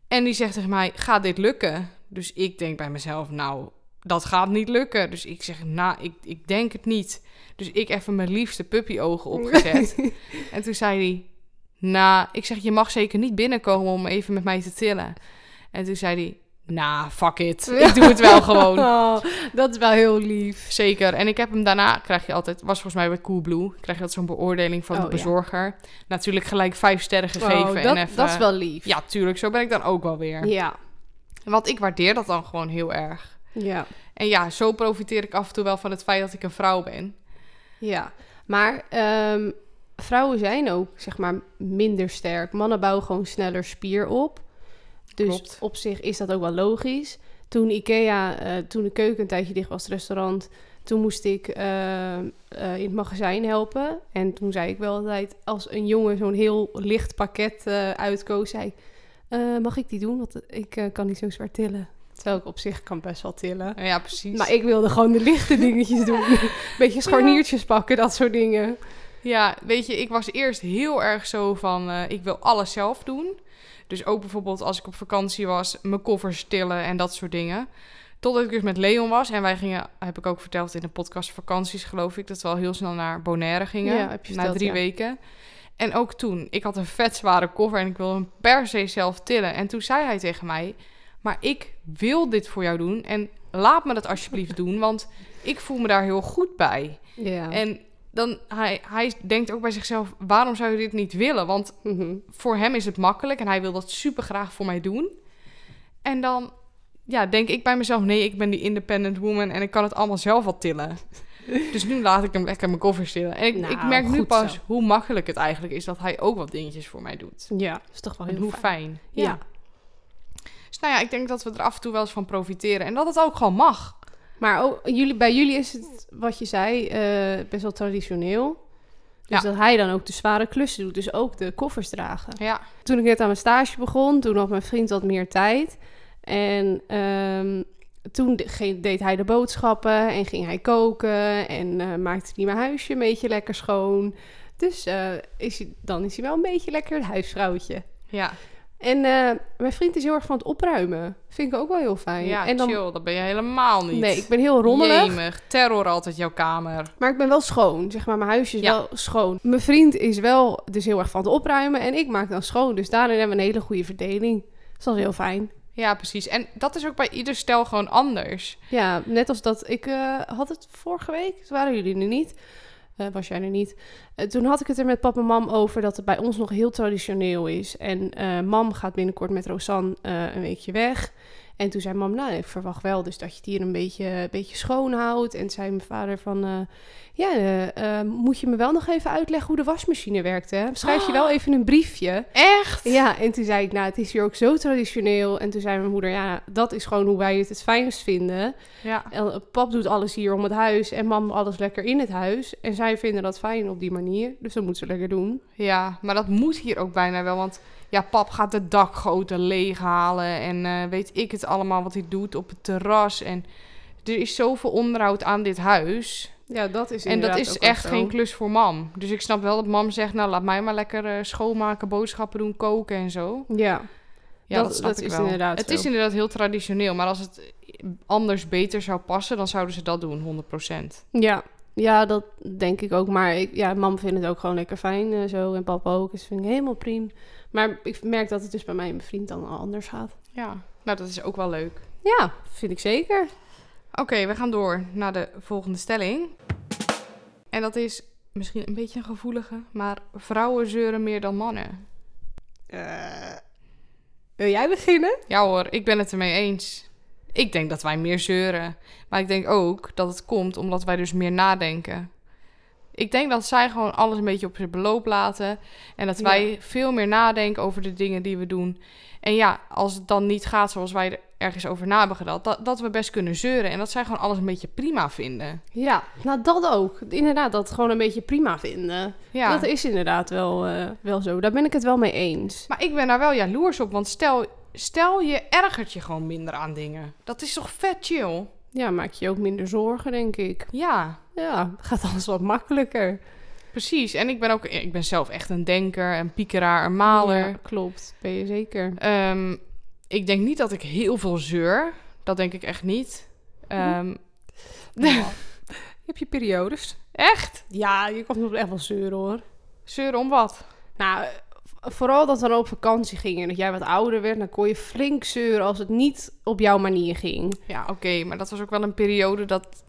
Speaker 1: En die zegt tegen mij, gaat dit lukken? Dus ik denk bij mezelf, nou, dat gaat niet lukken. Dus ik zeg, nou, ik, ik denk het niet. Dus ik even mijn liefste puppyogen opgezet. en toen zei hij, nou, ik zeg, je mag zeker niet binnenkomen om even met mij te tillen. En toen zei hij, nou, fuck it. Ik doe het wel gewoon.
Speaker 2: Oh, dat is wel heel lief.
Speaker 1: Zeker. En ik heb hem daarna, krijg je altijd, was volgens mij bij Coolblue, krijg je altijd zo'n beoordeling van
Speaker 2: Oh,
Speaker 1: de
Speaker 2: ja.
Speaker 1: bezorger. Natuurlijk gelijk vijf sterren gegeven.
Speaker 2: Oh,
Speaker 1: en
Speaker 2: dat,
Speaker 1: even,
Speaker 2: dat is wel lief.
Speaker 1: Ja, tuurlijk. Zo ben ik dan ook wel weer.
Speaker 2: Ja.
Speaker 1: Want ik waardeer dat dan gewoon heel erg.
Speaker 2: ja.
Speaker 1: En ja, zo profiteer ik af en toe wel van het feit dat ik een vrouw ben.
Speaker 2: Ja, maar ehm, vrouwen zijn ook zeg maar minder sterk. Mannen bouwen gewoon sneller spier op. Dus
Speaker 1: Klopt.
Speaker 2: op zich is dat ook wel logisch. Toen Ikea, eh, toen de keuken een tijdje dicht was, het restaurant, toen moest ik ehm, eh, in het magazijn helpen. En toen zei ik wel altijd, als een jongen zo'n heel licht pakket eh, uitkoos, zei ik, "Eh, mag ik die doen? Want ik eh, kan niet zo zwaar tillen. Terwijl ik op zich kan best wel tillen.
Speaker 1: Ja, precies.
Speaker 2: Maar ik wilde gewoon de lichte dingetjes doen. Beetje scharniertjes pakken, dat soort dingen.
Speaker 1: Ja, weet je, ik was eerst heel erg zo van, eh, ik wil alles zelf doen. Dus ook bijvoorbeeld als ik op vakantie was, mijn koffers tillen en dat soort dingen. Totdat ik dus met Leon was en wij gingen, heb ik ook verteld in de podcast vakanties geloof ik, dat we al heel snel naar Bonaire gingen.
Speaker 2: Ja, heb je
Speaker 1: na
Speaker 2: verteld,
Speaker 1: drie
Speaker 2: ja.
Speaker 1: weken. En ook toen, ik had een vet zware koffer en ik wilde hem per se zelf tillen. En toen zei hij tegen mij, maar ik wil dit voor jou doen en laat me dat alsjeblieft doen, want ik voel me daar heel goed bij.
Speaker 2: Ja.
Speaker 1: En dan, hij, hij denkt ook bij zichzelf, waarom zou je dit niet willen? Want
Speaker 2: Mhm.
Speaker 1: voor hem is het makkelijk en hij wil dat super graag voor mij doen. En dan ja, denk ik bij mezelf, nee, ik ben die independent woman en ik kan het allemaal zelf wel tillen. dus nu laat ik hem lekker mijn koffer tillen. En ik,
Speaker 2: Nou,
Speaker 1: ik merk nu
Speaker 2: goed
Speaker 1: pas
Speaker 2: zo.
Speaker 1: hoe makkelijk het eigenlijk is dat hij ook wat dingetjes voor mij doet.
Speaker 2: Ja, is toch wel
Speaker 1: En
Speaker 2: Nou, heel
Speaker 1: hoe
Speaker 2: fijn.
Speaker 1: fijn.
Speaker 2: Ja.
Speaker 1: Dus nou ja, ik denk dat we er af en toe wel eens van profiteren. En dat het ook gewoon mag.
Speaker 2: Maar ook, jullie, bij jullie is het, wat je zei, eh, best wel traditioneel. Dus
Speaker 1: Ja.
Speaker 2: dat hij dan ook de zware klussen doet, dus ook de koffers dragen.
Speaker 1: Ja,
Speaker 2: Toen ik net aan mijn stage begon, toen had mijn vriend wat meer tijd. En ehm, toen de- ging- deed hij de boodschappen en ging hij koken en eh, maakte hij mijn huisje een beetje lekker schoon. Dus eh, is hij, dan is hij wel een beetje lekker het huisvrouwtje.
Speaker 1: ja,
Speaker 2: En eh, mijn vriend is heel erg van het opruimen. Vind ik ook wel heel fijn.
Speaker 1: ja
Speaker 2: en dan,
Speaker 1: chill, dat ben je helemaal niet.
Speaker 2: Nee, ik ben heel rommelig.
Speaker 1: Jemig, terror altijd jouw kamer.
Speaker 2: Maar ik ben wel schoon, zeg maar. Mijn huis is
Speaker 1: Ja.
Speaker 2: wel schoon. Mijn vriend is wel dus heel erg van het opruimen en ik maak dan schoon. Dus daarin hebben we een hele goede verdeling. Dus dat is heel fijn.
Speaker 1: Ja, precies. En dat is ook bij ieder stel gewoon anders.
Speaker 2: Ja, net als dat ik eh, had het vorige week, toen waren jullie er niet. Eh, was jij er niet? Eh, toen had ik het er met pap en mam over dat het bij ons nog heel traditioneel is. En eh, mam gaat binnenkort met Rosanne eh, een weekje weg. En toen zei mam, nou, ik verwacht wel dus dat je het hier een beetje, een beetje schoon houdt. En zei mijn vader van, eh, ja, eh, eh, moet je me wel nog even uitleggen hoe de wasmachine werkt, hè? Schrijf je wel even een briefje.
Speaker 1: Echt?
Speaker 2: Ja, en toen zei ik, nou, het is hier ook zo traditioneel. En toen zei mijn moeder, ja, dat is gewoon hoe wij het het fijnst vinden.
Speaker 1: Ja.
Speaker 2: En pap doet alles hier om het huis en mam alles lekker in het huis. En zij vinden dat fijn op die manier, dus dat moeten ze lekker doen.
Speaker 1: Ja, maar dat moet hier ook bijna wel, want ja, pap gaat de dakgoten leeghalen en eh, weet ik het allemaal wat hij doet op het terras. En er is zoveel onderhoud aan dit huis.
Speaker 2: Ja, dat is
Speaker 1: En dat is echt geen klus voor mam. Dus ik snap wel dat mam zegt, nou laat mij maar lekker eh, schoonmaken, boodschappen doen, koken en zo.
Speaker 2: Ja,
Speaker 1: Ja,
Speaker 2: Dat-
Speaker 1: dat, snap
Speaker 2: dat
Speaker 1: ik
Speaker 2: is
Speaker 1: wel.
Speaker 2: inderdaad
Speaker 1: het
Speaker 2: zo.
Speaker 1: is inderdaad heel traditioneel, maar als het anders beter zou passen, dan zouden ze dat doen, 100%.
Speaker 2: ja. ja, dat denk ik ook. Maar ik, ja, mam vindt het ook gewoon lekker fijn eh, zo en papa ook. Dus vind ik helemaal prima. Maar ik merk dat het dus bij mij en mijn vriend dan al anders gaat.
Speaker 1: Ja, nou dat is ook wel leuk.
Speaker 2: Ja, vind ik zeker.
Speaker 1: Oké, we gaan door naar de volgende stelling. En dat is misschien een beetje een gevoelige, maar vrouwen zeuren meer dan mannen.
Speaker 2: wil jij beginnen?
Speaker 1: Ja hoor, ik ben het ermee eens. Ik denk dat wij meer zeuren. Maar ik denk ook dat het komt omdat wij dus meer nadenken. Ik denk dat zij gewoon alles een beetje op zijn beloop laten. En dat wij veel meer nadenken over de dingen die we doen. En ja, als het dan niet gaat zoals wij er ergens over na hebben gedacht, dat, dat we best kunnen zeuren. En dat zij gewoon alles een beetje prima vinden.
Speaker 2: Ja, nou dat ook. Inderdaad, dat gewoon een beetje prima vinden.
Speaker 1: Ja.
Speaker 2: Dat is inderdaad wel, eh, wel zo. Daar ben ik het wel mee eens.
Speaker 1: Maar ik ben daar wel jaloers op, want stel, stel je ergert je gewoon minder aan dingen. Dat is toch vet chill?
Speaker 2: Ja, maak je ook minder zorgen, denk ik.
Speaker 1: Ja,
Speaker 2: Ja, gaat alles wat makkelijker.
Speaker 1: precies. En ik ben ook, ik ben zelf echt een denker, een piekeraar, een maler.
Speaker 2: Ja, klopt, ben je zeker.
Speaker 1: Ehm, ik denk niet dat ik heel veel zeur. Dat denk ik echt niet. Ehm,
Speaker 2: Je hebt je periodes.
Speaker 1: Echt?
Speaker 2: Ja, je komt nog echt wel zeuren hoor.
Speaker 1: Zeuren om wat?
Speaker 2: Nou, eh, vooral dat we dan op vakantie gingen en dat jij wat ouder werd, dan kon je flink zeuren als het niet op jouw manier ging.
Speaker 1: Ja, oké. maar dat was ook wel een periode dat...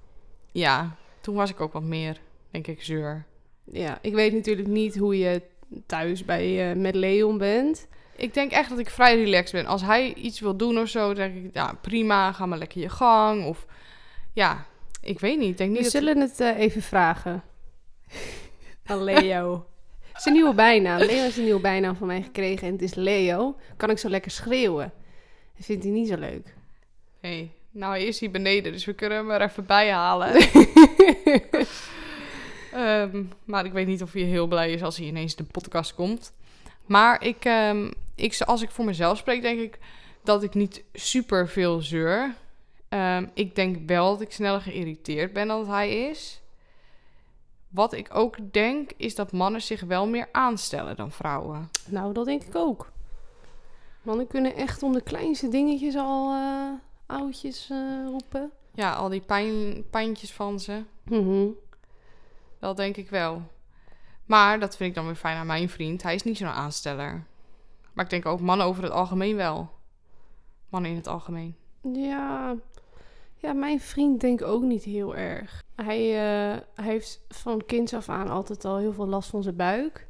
Speaker 1: Ja, toen was ik ook wat meer, denk ik, zeur.
Speaker 2: Ja, ik weet natuurlijk niet hoe je thuis bij, eh, met Leon bent.
Speaker 1: Ik denk echt dat ik vrij relaxed ben. Als hij iets wil doen of zo, dan denk ik, ja, prima, ga maar lekker je gang. Of ja, ik weet niet. Ik denk
Speaker 2: We
Speaker 1: niet dat...
Speaker 2: zullen het eh, even vragen. Aan Leo. Zijn nieuwe bijnaam. Leo heeft een nieuwe bijnaam van mij gekregen en het is Leo. Kan ik zo lekker schreeuwen? Dat vindt hij niet zo leuk.
Speaker 1: Nee, nou hij is hier beneden, dus we kunnen hem er even bij halen. Ehm, maar ik weet niet of hij heel blij is als hij ineens de podcast komt. Maar ik, ehm, ik, als ik voor mezelf spreek, denk ik dat ik niet super veel zeur. Ehm, ik denk wel dat ik sneller geïrriteerd ben dan dat hij is. Wat ik ook denk, is dat mannen zich wel meer aanstellen dan vrouwen.
Speaker 2: Nou, dat denk ik ook. Mannen kunnen echt om de kleinste dingetjes al eh oudjes eh, roepen.
Speaker 1: Ja, al die pijn, pijntjes van ze.
Speaker 2: Mhm.
Speaker 1: Dat denk ik wel. Maar dat vind ik dan weer fijn aan mijn vriend. Hij is niet zo'n aansteller. Maar ik denk ook mannen over het algemeen wel. Mannen in het algemeen.
Speaker 2: Ja. ja, mijn vriend denkt ook niet heel erg. Hij, eh, hij heeft van kinds af aan altijd al heel veel last van zijn buik.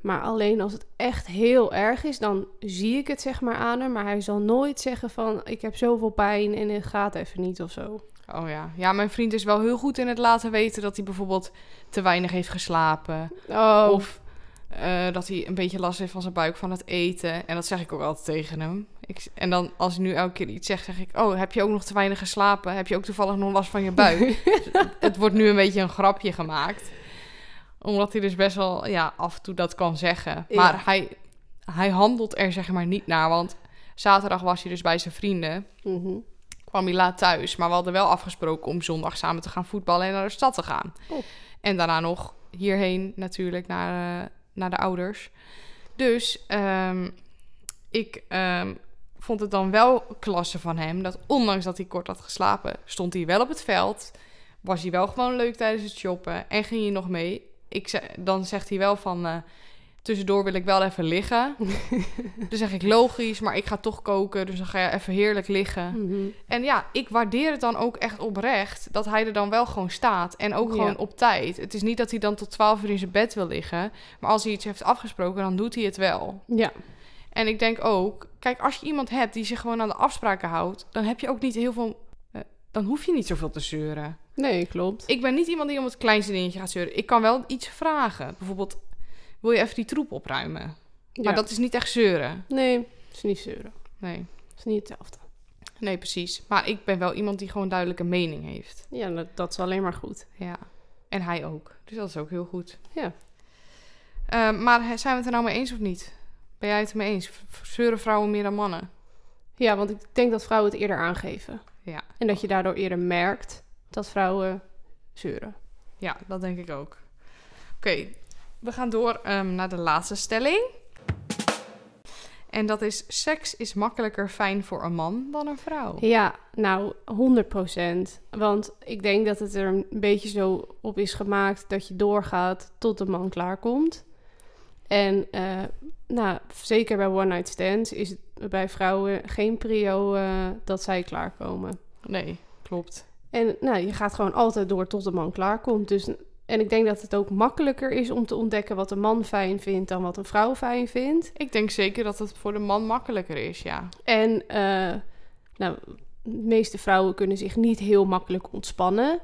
Speaker 2: Maar alleen als het echt heel erg is, dan zie ik het zeg maar aan hem. Maar hij zal nooit zeggen van, ik heb zoveel pijn en het gaat even niet of zo.
Speaker 1: Oh ja. Ja, mijn vriend is wel heel goed in het laten weten dat hij bijvoorbeeld te weinig heeft geslapen.
Speaker 2: Oh,
Speaker 1: Of eh, dat hij een beetje last heeft van zijn buik van het eten. En dat zeg ik ook altijd tegen hem. Ik, en dan als hij nu elke keer iets zegt, zeg ik... Oh, heb je ook nog te weinig geslapen? Heb je ook toevallig nog last van je buik? Dus het wordt nu een beetje een grapje gemaakt. Omdat hij dus best wel ja, af en toe dat kan zeggen.
Speaker 2: Ja.
Speaker 1: Maar hij, hij handelt er zeg maar niet naar. Want zaterdag was hij dus bij zijn vrienden.
Speaker 2: Mhm.
Speaker 1: Kwam hij laat thuis. Maar we hadden wel afgesproken om zondag samen te gaan voetballen en naar de stad te gaan.
Speaker 2: Oh.
Speaker 1: En daarna nog hierheen natuurlijk naar, eh, naar de ouders. Dus ehm, ik ehm, vond het dan wel klasse van hem. Dat ondanks dat hij kort had geslapen, stond hij wel op het veld. Was hij wel gewoon leuk tijdens het shoppen. En ging hij nog mee. Ik ze- dan zegt hij wel van... eh, tussendoor wil ik wel even liggen. dan zeg ik logisch, maar ik ga toch koken. Dus dan ga je even heerlijk liggen.
Speaker 2: Mhm.
Speaker 1: En ja, ik waardeer het dan ook echt oprecht dat hij er dan wel gewoon staat. En ook
Speaker 2: Ja.
Speaker 1: gewoon op tijd. Het is niet dat hij dan tot 12 uur in zijn bed wil liggen. Maar als hij iets heeft afgesproken, dan doet hij het wel.
Speaker 2: Ja,
Speaker 1: En ik denk ook, kijk, als je iemand hebt die zich gewoon aan de afspraken houdt, dan heb je ook niet heel veel. eh, Dan hoef je niet zoveel te zeuren.
Speaker 2: nee, klopt.
Speaker 1: Ik ben niet iemand die om het kleinste dingetje gaat zeuren. Ik kan wel iets vragen. Bijvoorbeeld, wil je even die troep opruimen?
Speaker 2: Ja.
Speaker 1: Maar dat is niet echt zeuren.
Speaker 2: Nee, is niet zeuren.
Speaker 1: Nee,
Speaker 2: is niet hetzelfde.
Speaker 1: nee, precies. Maar ik ben wel iemand die gewoon duidelijk een mening heeft.
Speaker 2: Ja, dat, dat is alleen maar goed.
Speaker 1: Ja, en hij ook. Dus dat is ook heel goed.
Speaker 2: Ja.
Speaker 1: Eh, maar he- zijn we het er nou mee eens of niet? Ben jij het er mee eens? V- v- Zeuren vrouwen meer dan mannen?
Speaker 2: Ja, want ik denk dat vrouwen het eerder aangeven.
Speaker 1: Ja.
Speaker 2: En dat je daardoor eerder merkt dat vrouwen zeuren.
Speaker 1: Ja, dat denk ik ook. Oké, we gaan door ehm, naar de laatste stelling. En dat is: seks is makkelijker fijn voor een man dan een vrouw.
Speaker 2: Ja, nou, 100%. Want ik denk dat het er een beetje zo op is gemaakt dat je doorgaat tot de man klaarkomt. En eh, nou, zeker bij one night stands is het bij vrouwen geen prio eh, dat zij klaarkomen.
Speaker 1: Nee, klopt.
Speaker 2: En nou, je gaat gewoon altijd door tot de man klaarkomt. Dus, en ik denk dat het ook makkelijker is om te ontdekken wat een man fijn vindt dan wat een vrouw fijn vindt.
Speaker 1: Ik denk zeker dat het voor de man makkelijker is, ja.
Speaker 2: En eh, nou, de meeste vrouwen kunnen zich niet heel makkelijk ontspannen.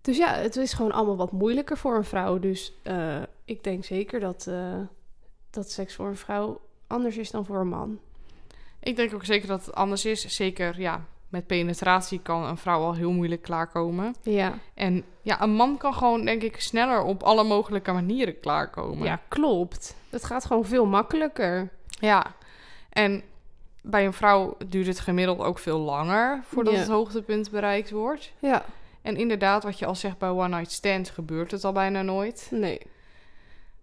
Speaker 2: Dus ja, het is gewoon allemaal wat moeilijker voor een vrouw. Dus eh, ik denk zeker dat, eh, dat seks voor een vrouw anders is dan voor een man.
Speaker 1: Ik denk ook zeker dat het anders is. Zeker, ja, met penetratie kan een vrouw al heel moeilijk klaarkomen.
Speaker 2: Ja,
Speaker 1: En ja, een man kan gewoon, denk ik, sneller op alle mogelijke manieren klaarkomen.
Speaker 2: ja klopt. Het gaat gewoon veel makkelijker.
Speaker 1: Ja. En bij een vrouw duurt het gemiddeld ook veel langer voordat
Speaker 2: Ja.
Speaker 1: het hoogtepunt bereikt wordt.
Speaker 2: Ja,
Speaker 1: En inderdaad, wat je al zegt bij One Night Stands, gebeurt het al bijna nooit.
Speaker 2: nee.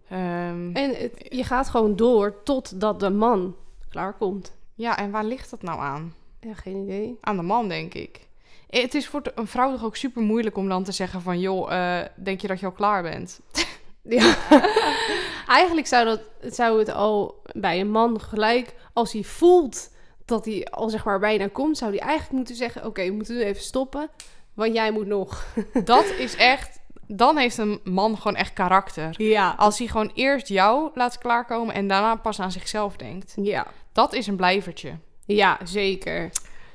Speaker 1: Ehm,
Speaker 2: En het- je gaat gewoon door totdat de man klaarkomt.
Speaker 1: Ja, en waar ligt dat nou aan?
Speaker 2: Ja, geen idee.
Speaker 1: Aan de man, denk ik. Eh, Het is voor t- een vrouw toch ook super moeilijk om dan te zeggen van... joh, eh, denk je dat je al klaar bent?
Speaker 2: Ja. Eigenlijk zou, dat, zou het al bij een man gelijk, als hij voelt dat hij al zeg maar bijna komt, zou hij eigenlijk moeten zeggen: Oké, we moeten nu even stoppen, want jij moet nog.
Speaker 1: Dat is echt... Dan heeft een man gewoon echt karakter.
Speaker 2: Ja.
Speaker 1: Als hij gewoon eerst jou laat klaarkomen en daarna pas aan zichzelf denkt.
Speaker 2: Ja,
Speaker 1: Dat is een blijvertje.
Speaker 2: ja zeker.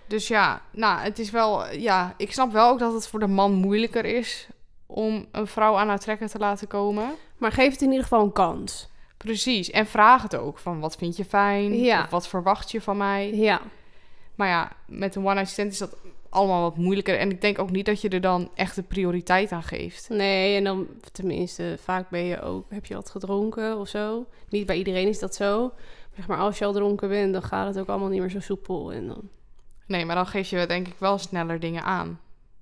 Speaker 1: Dus ja, nou, het is wel... Ja, ik snap wel ook dat het voor de man moeilijker is... om een vrouw aan haar trekken te laten komen.
Speaker 2: Maar geef het in ieder geval een kans.
Speaker 1: Precies. En vraag het ook. Van, wat vind je fijn?
Speaker 2: Ja.
Speaker 1: Of wat verwacht je van mij?
Speaker 2: Ja,
Speaker 1: Maar ja, met een one-night stand is dat allemaal wat moeilijker. En ik denk ook niet dat je er dan echt de prioriteit aan geeft.
Speaker 2: nee, en dan tenminste, vaak ben je ook, heb je wat gedronken of zo. Niet bij iedereen is dat zo. Maar Zeg maar, als je al dronken bent, dan gaat het ook allemaal niet meer zo soepel. En dan...
Speaker 1: Nee, maar dan geef je denk ik wel sneller dingen aan.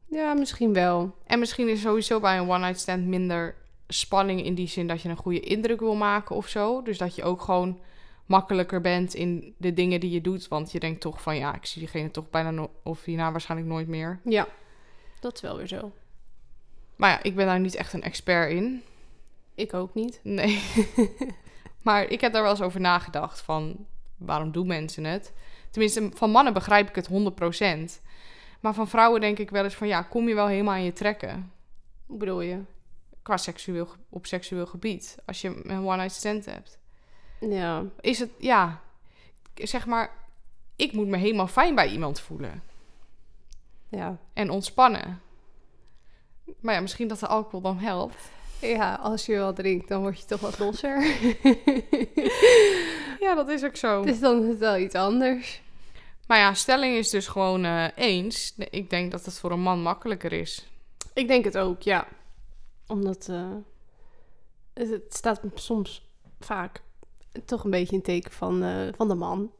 Speaker 2: Ja, misschien wel.
Speaker 1: En misschien is sowieso bij een one-night stand minder spanning in die zin dat je een goede indruk wil maken of zo. Dus dat je ook gewoon makkelijker bent in de dingen die je doet. Want je denkt toch van ja, ik zie diegene toch bijna no- of hierna waarschijnlijk nooit meer.
Speaker 2: Ja, dat is wel weer zo.
Speaker 1: Maar ja, ik ben daar niet echt een expert in.
Speaker 2: Ik ook niet.
Speaker 1: Nee. maar ik heb daar wel eens over nagedacht van waarom doen mensen het? Tenminste, van mannen begrijp ik het 100%. Maar van vrouwen denk ik wel eens van ja, kom je wel helemaal aan je trekken?
Speaker 2: Hoe bedoel je?
Speaker 1: qua seksueel, ge- op seksueel gebied. Als je een one-night stand hebt.
Speaker 2: Ja,
Speaker 1: Is het, ja, zeg maar, ik moet me helemaal fijn bij iemand voelen.
Speaker 2: ja.
Speaker 1: En ontspannen. Maar ja, misschien dat de alcohol dan helpt.
Speaker 2: Ja, als je wel drinkt, dan word je toch wat losser.
Speaker 1: Ja, dat is ook zo.
Speaker 2: dus dan is het wel iets anders.
Speaker 1: Maar ja, stelling is dus gewoon eh, eens. Nee, Ik denk dat het voor een man makkelijker is.
Speaker 2: Ik denk het ook, ja. Omdat eh, het, het staat soms vaak toch een beetje in het teken van, eh, van de man.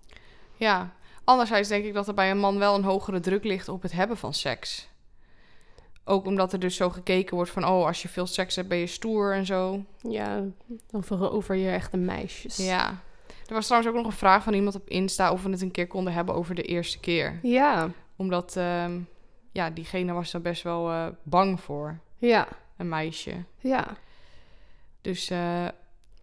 Speaker 1: Ja. Anderzijds denk ik dat er bij een man wel een hogere druk ligt op het hebben van seks. Ook omdat er dus zo gekeken wordt van, oh, als je veel seks hebt ben je stoer en zo.
Speaker 2: Ja, over, over je echte meisjes.
Speaker 1: Ja. Er was trouwens ook nog een vraag van iemand op Insta of we het een keer konden hebben over de eerste keer.
Speaker 2: Ja,
Speaker 1: Omdat, ehm, ja, diegene was daar best wel eh, bang voor,
Speaker 2: ja,
Speaker 1: een meisje.
Speaker 2: ja.
Speaker 1: Dus, eh,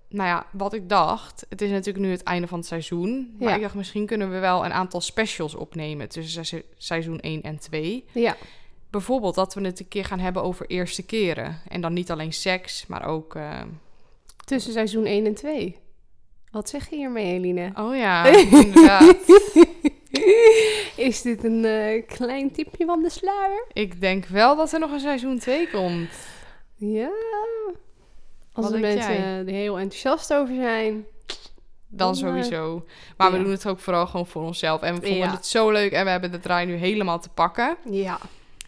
Speaker 1: nou ja, wat ik dacht, het is natuurlijk nu het einde van het seizoen. Maar
Speaker 2: Ja.
Speaker 1: ik dacht, misschien kunnen we wel een aantal specials opnemen tussen se- seizoen 1 en 2.
Speaker 2: ja.
Speaker 1: Bijvoorbeeld dat we het een keer gaan hebben over eerste keren. En dan niet alleen seks, maar ook... eh,
Speaker 2: Tussen seizoen 1 en 2. Wat zeg je hiermee, Eline?
Speaker 1: Oh ja, inderdaad.
Speaker 2: Is dit een eh, klein tipje van de sluier?
Speaker 1: Ik denk wel dat er nog een seizoen 2 komt.
Speaker 2: Ja. Als
Speaker 1: Wat
Speaker 2: er
Speaker 1: denk
Speaker 2: mensen
Speaker 1: jij?
Speaker 2: er heel enthousiast over zijn.
Speaker 1: Dan
Speaker 2: Dan,
Speaker 1: sowieso. Maar we
Speaker 2: ja.
Speaker 1: doen het ook vooral gewoon voor onszelf. En we vonden
Speaker 2: Ja.
Speaker 1: het zo leuk en we hebben de draai nu helemaal te pakken.
Speaker 2: Ja.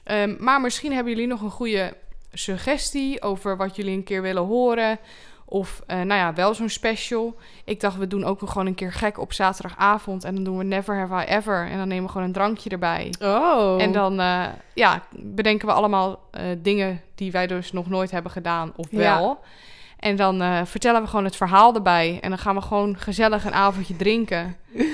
Speaker 1: Ehm, maar misschien hebben jullie nog een goede suggestie over wat jullie een keer willen horen. Of eh, nou ja, wel zo'n special. Ik dacht, we doen ook gewoon een keer gek op zaterdagavond. En dan doen we Never Have I Ever. En dan nemen we gewoon een drankje erbij.
Speaker 2: Oh.
Speaker 1: En dan eh, ja, bedenken we allemaal eh, dingen die wij dus nog nooit hebben gedaan, of
Speaker 2: Ja.
Speaker 1: wel. En dan eh, vertellen we gewoon het verhaal erbij. En dan gaan we gewoon gezellig een avondje drinken.
Speaker 2: Ja.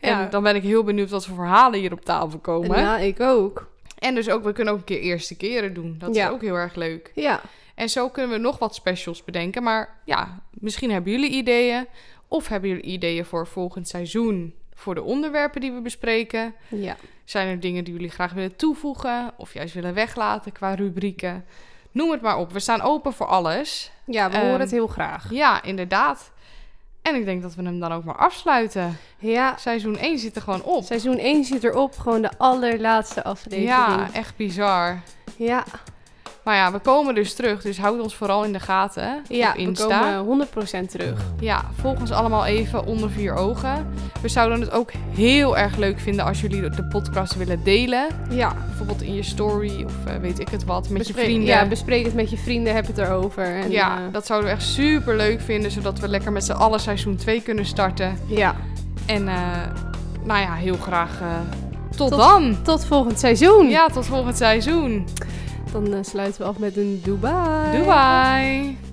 Speaker 1: En dan ben ik heel benieuwd wat voor verhalen hier op tafel komen.
Speaker 2: Ja, ik ook.
Speaker 1: En dus ook, we kunnen ook een keer eerste keren doen. Dat
Speaker 2: Ja.
Speaker 1: is ook heel erg leuk.
Speaker 2: Ja.
Speaker 1: En zo kunnen we nog wat specials bedenken. Maar ja, misschien hebben jullie ideeën. Of hebben jullie ideeën voor volgend seizoen. Voor de onderwerpen die we bespreken.
Speaker 2: Ja.
Speaker 1: Zijn er dingen die jullie graag willen toevoegen of juist willen weglaten qua rubrieken? Noem het maar op. We staan open voor alles.
Speaker 2: Ja, we
Speaker 1: Ehm,
Speaker 2: horen het heel graag.
Speaker 1: Ja, inderdaad. En ik denk dat we hem dan ook maar afsluiten.
Speaker 2: Ja.
Speaker 1: Seizoen 1 zit er gewoon op.
Speaker 2: Ah. Seizoen 1 zit erop. Gewoon de allerlaatste aflevering.
Speaker 1: Ja, echt bizar.
Speaker 2: Ja.
Speaker 1: Maar ja, we komen dus terug. Dus houd ons vooral in de gaten. hè,
Speaker 2: Ja,
Speaker 1: op
Speaker 2: we
Speaker 1: Insta.
Speaker 2: komen 100% terug.
Speaker 1: Ja, volg ons allemaal even onder vier ogen. We zouden het ook heel erg leuk vinden als jullie de podcast willen delen.
Speaker 2: Ja.
Speaker 1: Bijvoorbeeld in je story of eh, weet ik het wat. Met
Speaker 2: Bespreek-
Speaker 1: je vrienden.
Speaker 2: Ja, bespreek het met je vrienden. Heb het erover. En,
Speaker 1: ja,
Speaker 2: eh,
Speaker 1: dat zouden we echt super leuk vinden, zodat we lekker met z'n allen seizoen 2 kunnen starten.
Speaker 2: ja.
Speaker 1: En eh, nou ja, heel graag eh, tot,
Speaker 2: Tot-
Speaker 1: dan.
Speaker 2: Tot volgend seizoen.
Speaker 1: Ja, tot volgend seizoen.
Speaker 2: Dan eh, sluiten we af met een Dubai.
Speaker 1: Doei.